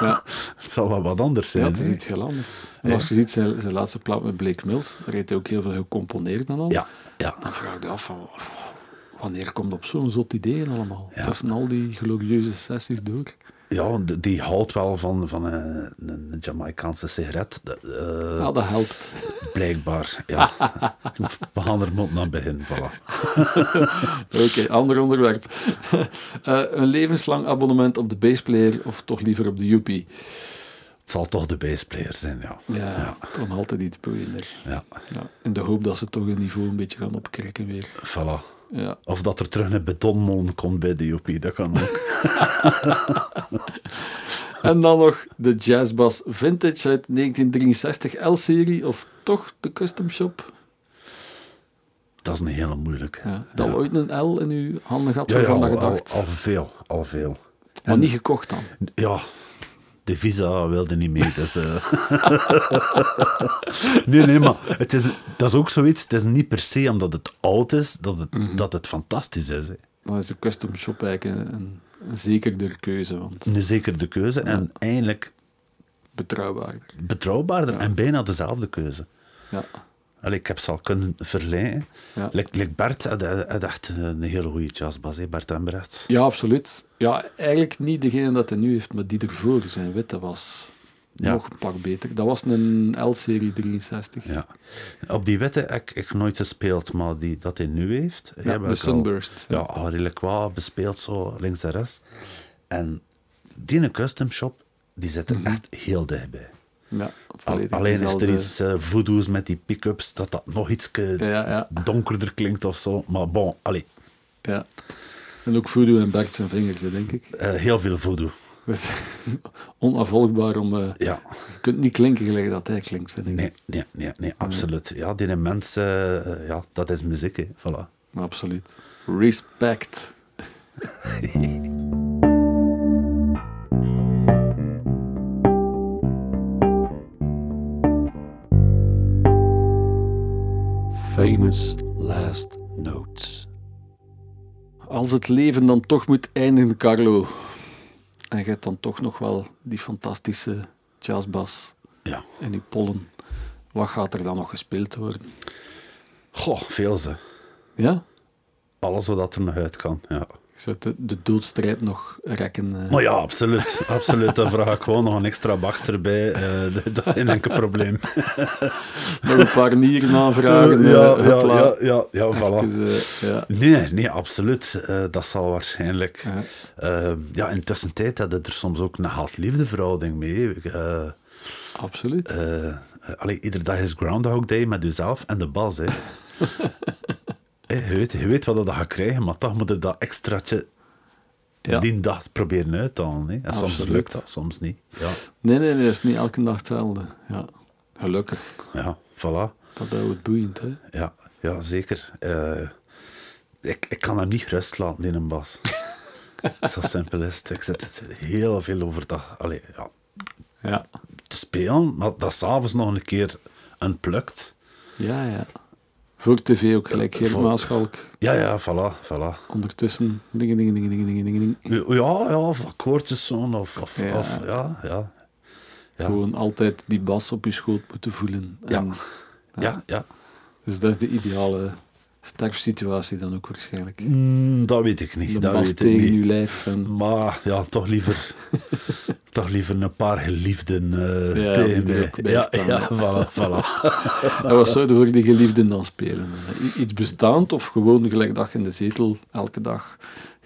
ja. Het zal wel wat anders zijn. Ja, het is hè? iets heel anders. En als je ziet zijn, zijn laatste plaat met Blake Mills, daar heeft hij ook heel veel gecomponeerd en al. Ja, ja. Dan vraag je af van, wanneer komt op zo'n zot ideeën allemaal? Tussen al die glorieuze sessies door. ja d- die houdt wel van, van een, een Jamaicaanse sigaret. Dat, Ja, eh, Ah, dat helpt. Blijkbaar, ja. We gaan er mond naar begin, voilà. Oké, ander onderwerp. Eh, een levenslang abonnement op de bassplayer of toch liever op de Yuppie? Het zal toch de bassplayer zijn, ja. Ja, dan altijd iets boeiender. ja. Ja, in de hoop dat ze toch een niveau een beetje gaan opkrikken weer. Voilà. Ja. Of dat er terug een betonmon komt bij de Joppie, dat kan ook. En dan nog de Jazzbass Vintage uit 1963 L-serie of toch de Custom Shop? Dat is een hele moeilijke. Ja. Dat ooit een L in uw handen gehad Ja, ja, waarvan dat al, je al, dacht. al veel, al veel. maar niet gekocht dan. Ja, de visa wilde niet mee. Dus, eh. nee, nee, maar het is, dat is ook zoiets. Het is niet per se omdat het oud is, dat het, Mhm. dat het fantastisch is. hè. Dan is de custom shop eigenlijk een, een, een zekerder keuze, want Een zeker de keuze en eindelijk betrouwbaarder. betrouwbaarder en bijna dezelfde keuze. Ja. Allee, ik heb ze al kunnen verleiden. Ja. Like, like Bert had, had echt een hele goede jazzbas, hè, Bert Embrecht. Ja, absoluut. Ja, eigenlijk niet degene dat hij nu heeft, maar die ervoor zijn witte was. Ja. Nog een pak beter. Dat was een L-serie 63. Ja. Op die witte heb ik, ik nooit gespeeld, maar die, dat hij nu heeft... die Ja, heb de ik al- Sunburst. ja, al redelijk wat bespeeld, zo links en rechts. En die custom shop, die zit er echt heel dichtbij. Ja, Al- volledig alleen is er dezelfde- iets eh voodoo's met die pick-ups, dat dat nog iets Ja, ja, ja, donkerder klinkt of zo. Maar bon, allee, ja. En ook voodoo en Bert zijn vingers, hè, denk ik. eh, heel veel voodoo. Dat is onafvolgbaar om... eh, Ja, je kunt niet klinken gelijk dat hij klinkt, vind ik. nee, nee, nee, nee absoluut. Ja, die mensen, eh, ja, dat is muziek, hè. Voilà. Absoluut. Respect. Famous last notes. Als het leven dan toch moet eindigen, Carlo, en je hebt dan toch nog wel die fantastische jazzbas Ja. en die pollen, wat gaat er dan nog gespeeld worden? Goh, veel ze. Ja? Alles wat er nog uit kan, ja. Ik zou de, de doodstrijd nog rekken. eh. Maar ja, absoluut. absoluut. Dan vraag ik gewoon nog een extra bakster bij. Eh, d- dat is geen enkel probleem. Nog een paar nieren aanvragen. eh, ja, ja, hopla. ja, ja, ja, voilà. Even, eh, ja. Nee, nee, absoluut. Eh, dat zal waarschijnlijk... Ja. Eh, ja, intussen tijd hadden er soms ook een haat-liefdeverhouding mee. Eh Absoluut. eh, eh, allee, iedere dag is Groundhog Day met jezelf en de bas. Hè. Eh, je, weet, je weet wat je dat gaat krijgen, maar toch moet je dat extraatje Ja. die dag proberen uit te halen. Hè. En soms Absoluut. lukt dat, soms niet. Ja, Nee, nee, nee, dat is niet elke dag hetzelfde. Ja. Gelukkig. ja voilà. Dat houdt het boeiend, hè. Ja, ja zeker. Eh, ik, ik kan hem niet rust laten in een bas. Zo simpel is het. Ik zit het heel veel overdag allee, ja, Ja. te spelen, maar dat s'avonds nog een keer plukt. Ja, ja. Voor tv ook gelijk. Geert Eh, Voor- Maaschalk. Ja, ja, voilà, voilà. Ondertussen. Ding, ding, ding, ding, ding, ding, ding. Ja, ja, of akkoordjes zo'n, of, of, Ja. ja. of ja, ja, Ja. Gewoon altijd die bas op je schoot moeten voelen. Ja. En- ja, ja. Dus dat is de ideale sterfsituatie dan ook waarschijnlijk. Mm, dat weet ik niet, De dat bas weet ik tegen niet. je lijf. En... Maar ja, toch liever, toch liever een paar geliefden eh Ja, tegen die er mij. ook bij ja, staan, ja, voilà, voilà. En wat zouden we voor die geliefden dan spelen? I- Iets bestaand of gewoon gelijk dag in de zetel, elke dag?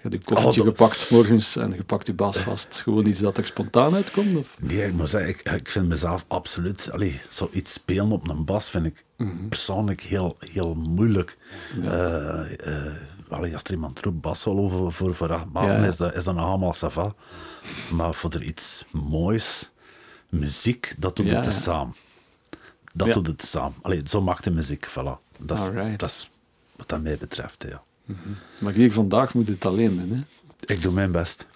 Je hebt je koffietje Oh, dat- gepakt 's morgens en je pakt je baas vast. Gewoon iets dat er spontaan uitkomt? Of? Nee, ik moet zeggen, ik, ik vind mezelf absoluut... Allee, zoiets spelen op een bas vind ik Mhm. persoonlijk heel, heel moeilijk. Eh, eh, allee, als er iemand roept bassolo voor, voor, voor acht maanden, ja. Is, dat, is dat nog allemaal sava. Maar voor er iets moois, muziek, dat doet Ja, het ja. samen. Dat Ja. doet het samen. Allee, zo maakt de muziek, voilà. Dat is, Alright. dat is wat dat mij betreft, ja. Maar hier vandaag moet het alleen doen. Hè? Ik doe mijn best.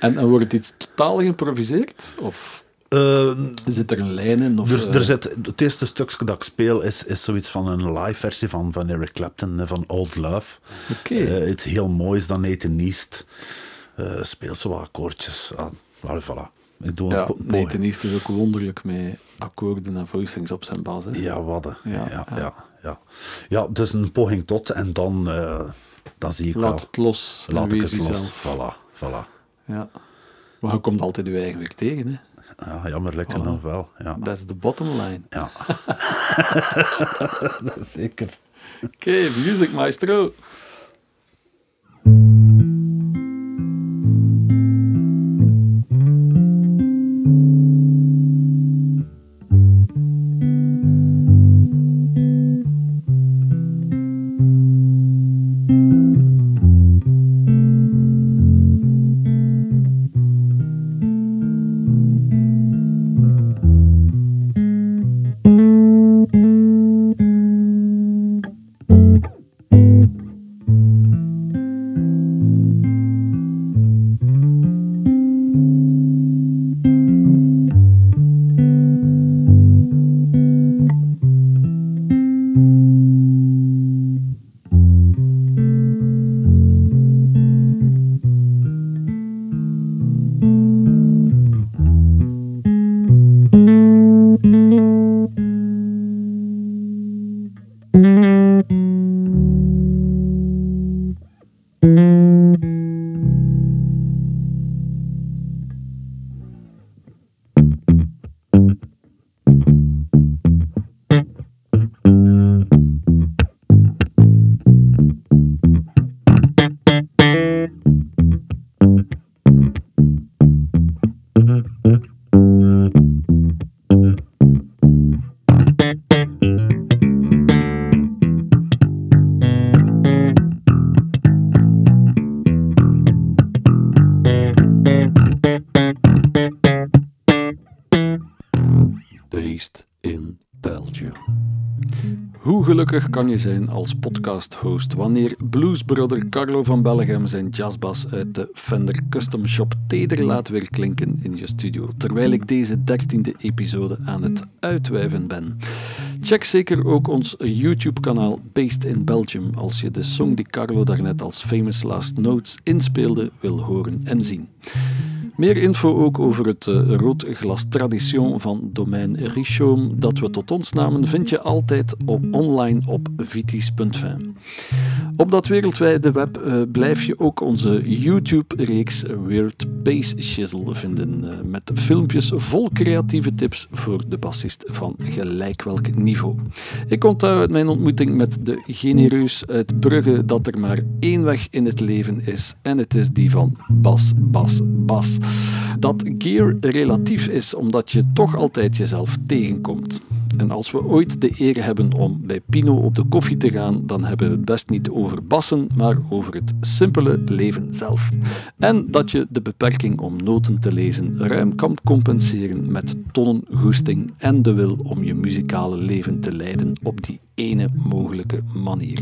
En, en wordt het iets totaal geïmproviseerd? Of Eh, zit er een lijn in? Of, Dus eh, er zit, het eerste stukje dat ik speel is, is zoiets van een live versie van, van Eric Clapton, eh, van Old Love. Oké. Eh, iets heel moois dan Nathan East. Eh, speel zo wat akkoordjes aan. Allee, voilà. Ik doe ja, een po- poging. Nathan East is ook wonderlijk met akkoorden en voicings op zijn baas. Hè? Ja, wadden. Ja, Ja, ja, ja. ja. ja. dus een poging tot en dan, eh, dan zie ik Laat wel. het los. en Laat ik wees het los. jezelf. Voilà, voilà. Ja. Maar je komt altijd je eigen weer tegen. Hè? Ja, jammer, lekker Voilà. nog wel. Ja. That's the bottom line. ja. Zeker. Oké, music maestro. gelukkig kan je zijn als podcast-host wanneer bluesbrother Carlo van Bellegem zijn jazzbas uit de Fender Custom Shop teder laat weer klinken in je studio, terwijl ik deze 13e episode aan het uitwijven ben. Check zeker ook ons YouTube-kanaal Based in Belgium als je de song die Carlo daarnet als Famous Last Notes inspeelde wil horen en zien. Meer info ook over het eh, rood glas tradition van domein Richoom dat we tot ons namen vind je altijd op online op vitis.fm. Op dat wereldwijde web eh, blijf je ook onze YouTube-reeks Weird Bass Shizzle vinden eh, met filmpjes vol creatieve tips voor de bassist van gelijk welk niveau. Ik onthoud uit mijn ontmoeting met de genereus uit Brugge dat er maar één weg in het leven is en het is die van bas, bas, bas. Dat gear relatief is omdat je toch altijd jezelf tegenkomt. En als we ooit de eer hebben om bij Pino op de koffie te gaan, dan hebben we het best niet over bassen, maar over het simpele leven zelf. En dat je de beperking om noten te lezen ruim kan compenseren met tonnen goesting en de wil om je muzikale leven te leiden op die ene mogelijke manier.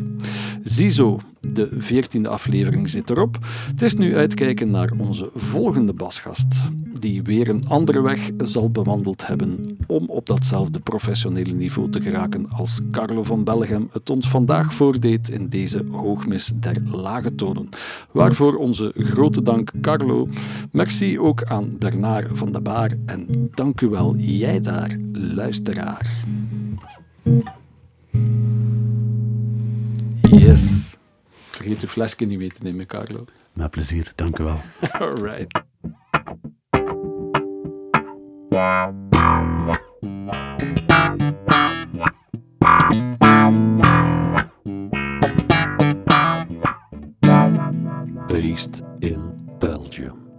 Ziezo, de veertiende aflevering zit erop. Het is nu uitkijken naar onze volgende basgast, die weer een andere weg zal bewandeld hebben om op datzelfde professionele niveau te geraken als Carlo van Bellegem het ons vandaag voordeed in deze hoogmis der lage tonen. Waarvoor onze grote dank Carlo. Merci ook aan Bernard van de Baar en dank u wel jij daar, luisteraar. Yes. Vergeet je flesje niet mee te nemen, Carlo. Met plezier, dank u wel. Alright. Based in Belgium.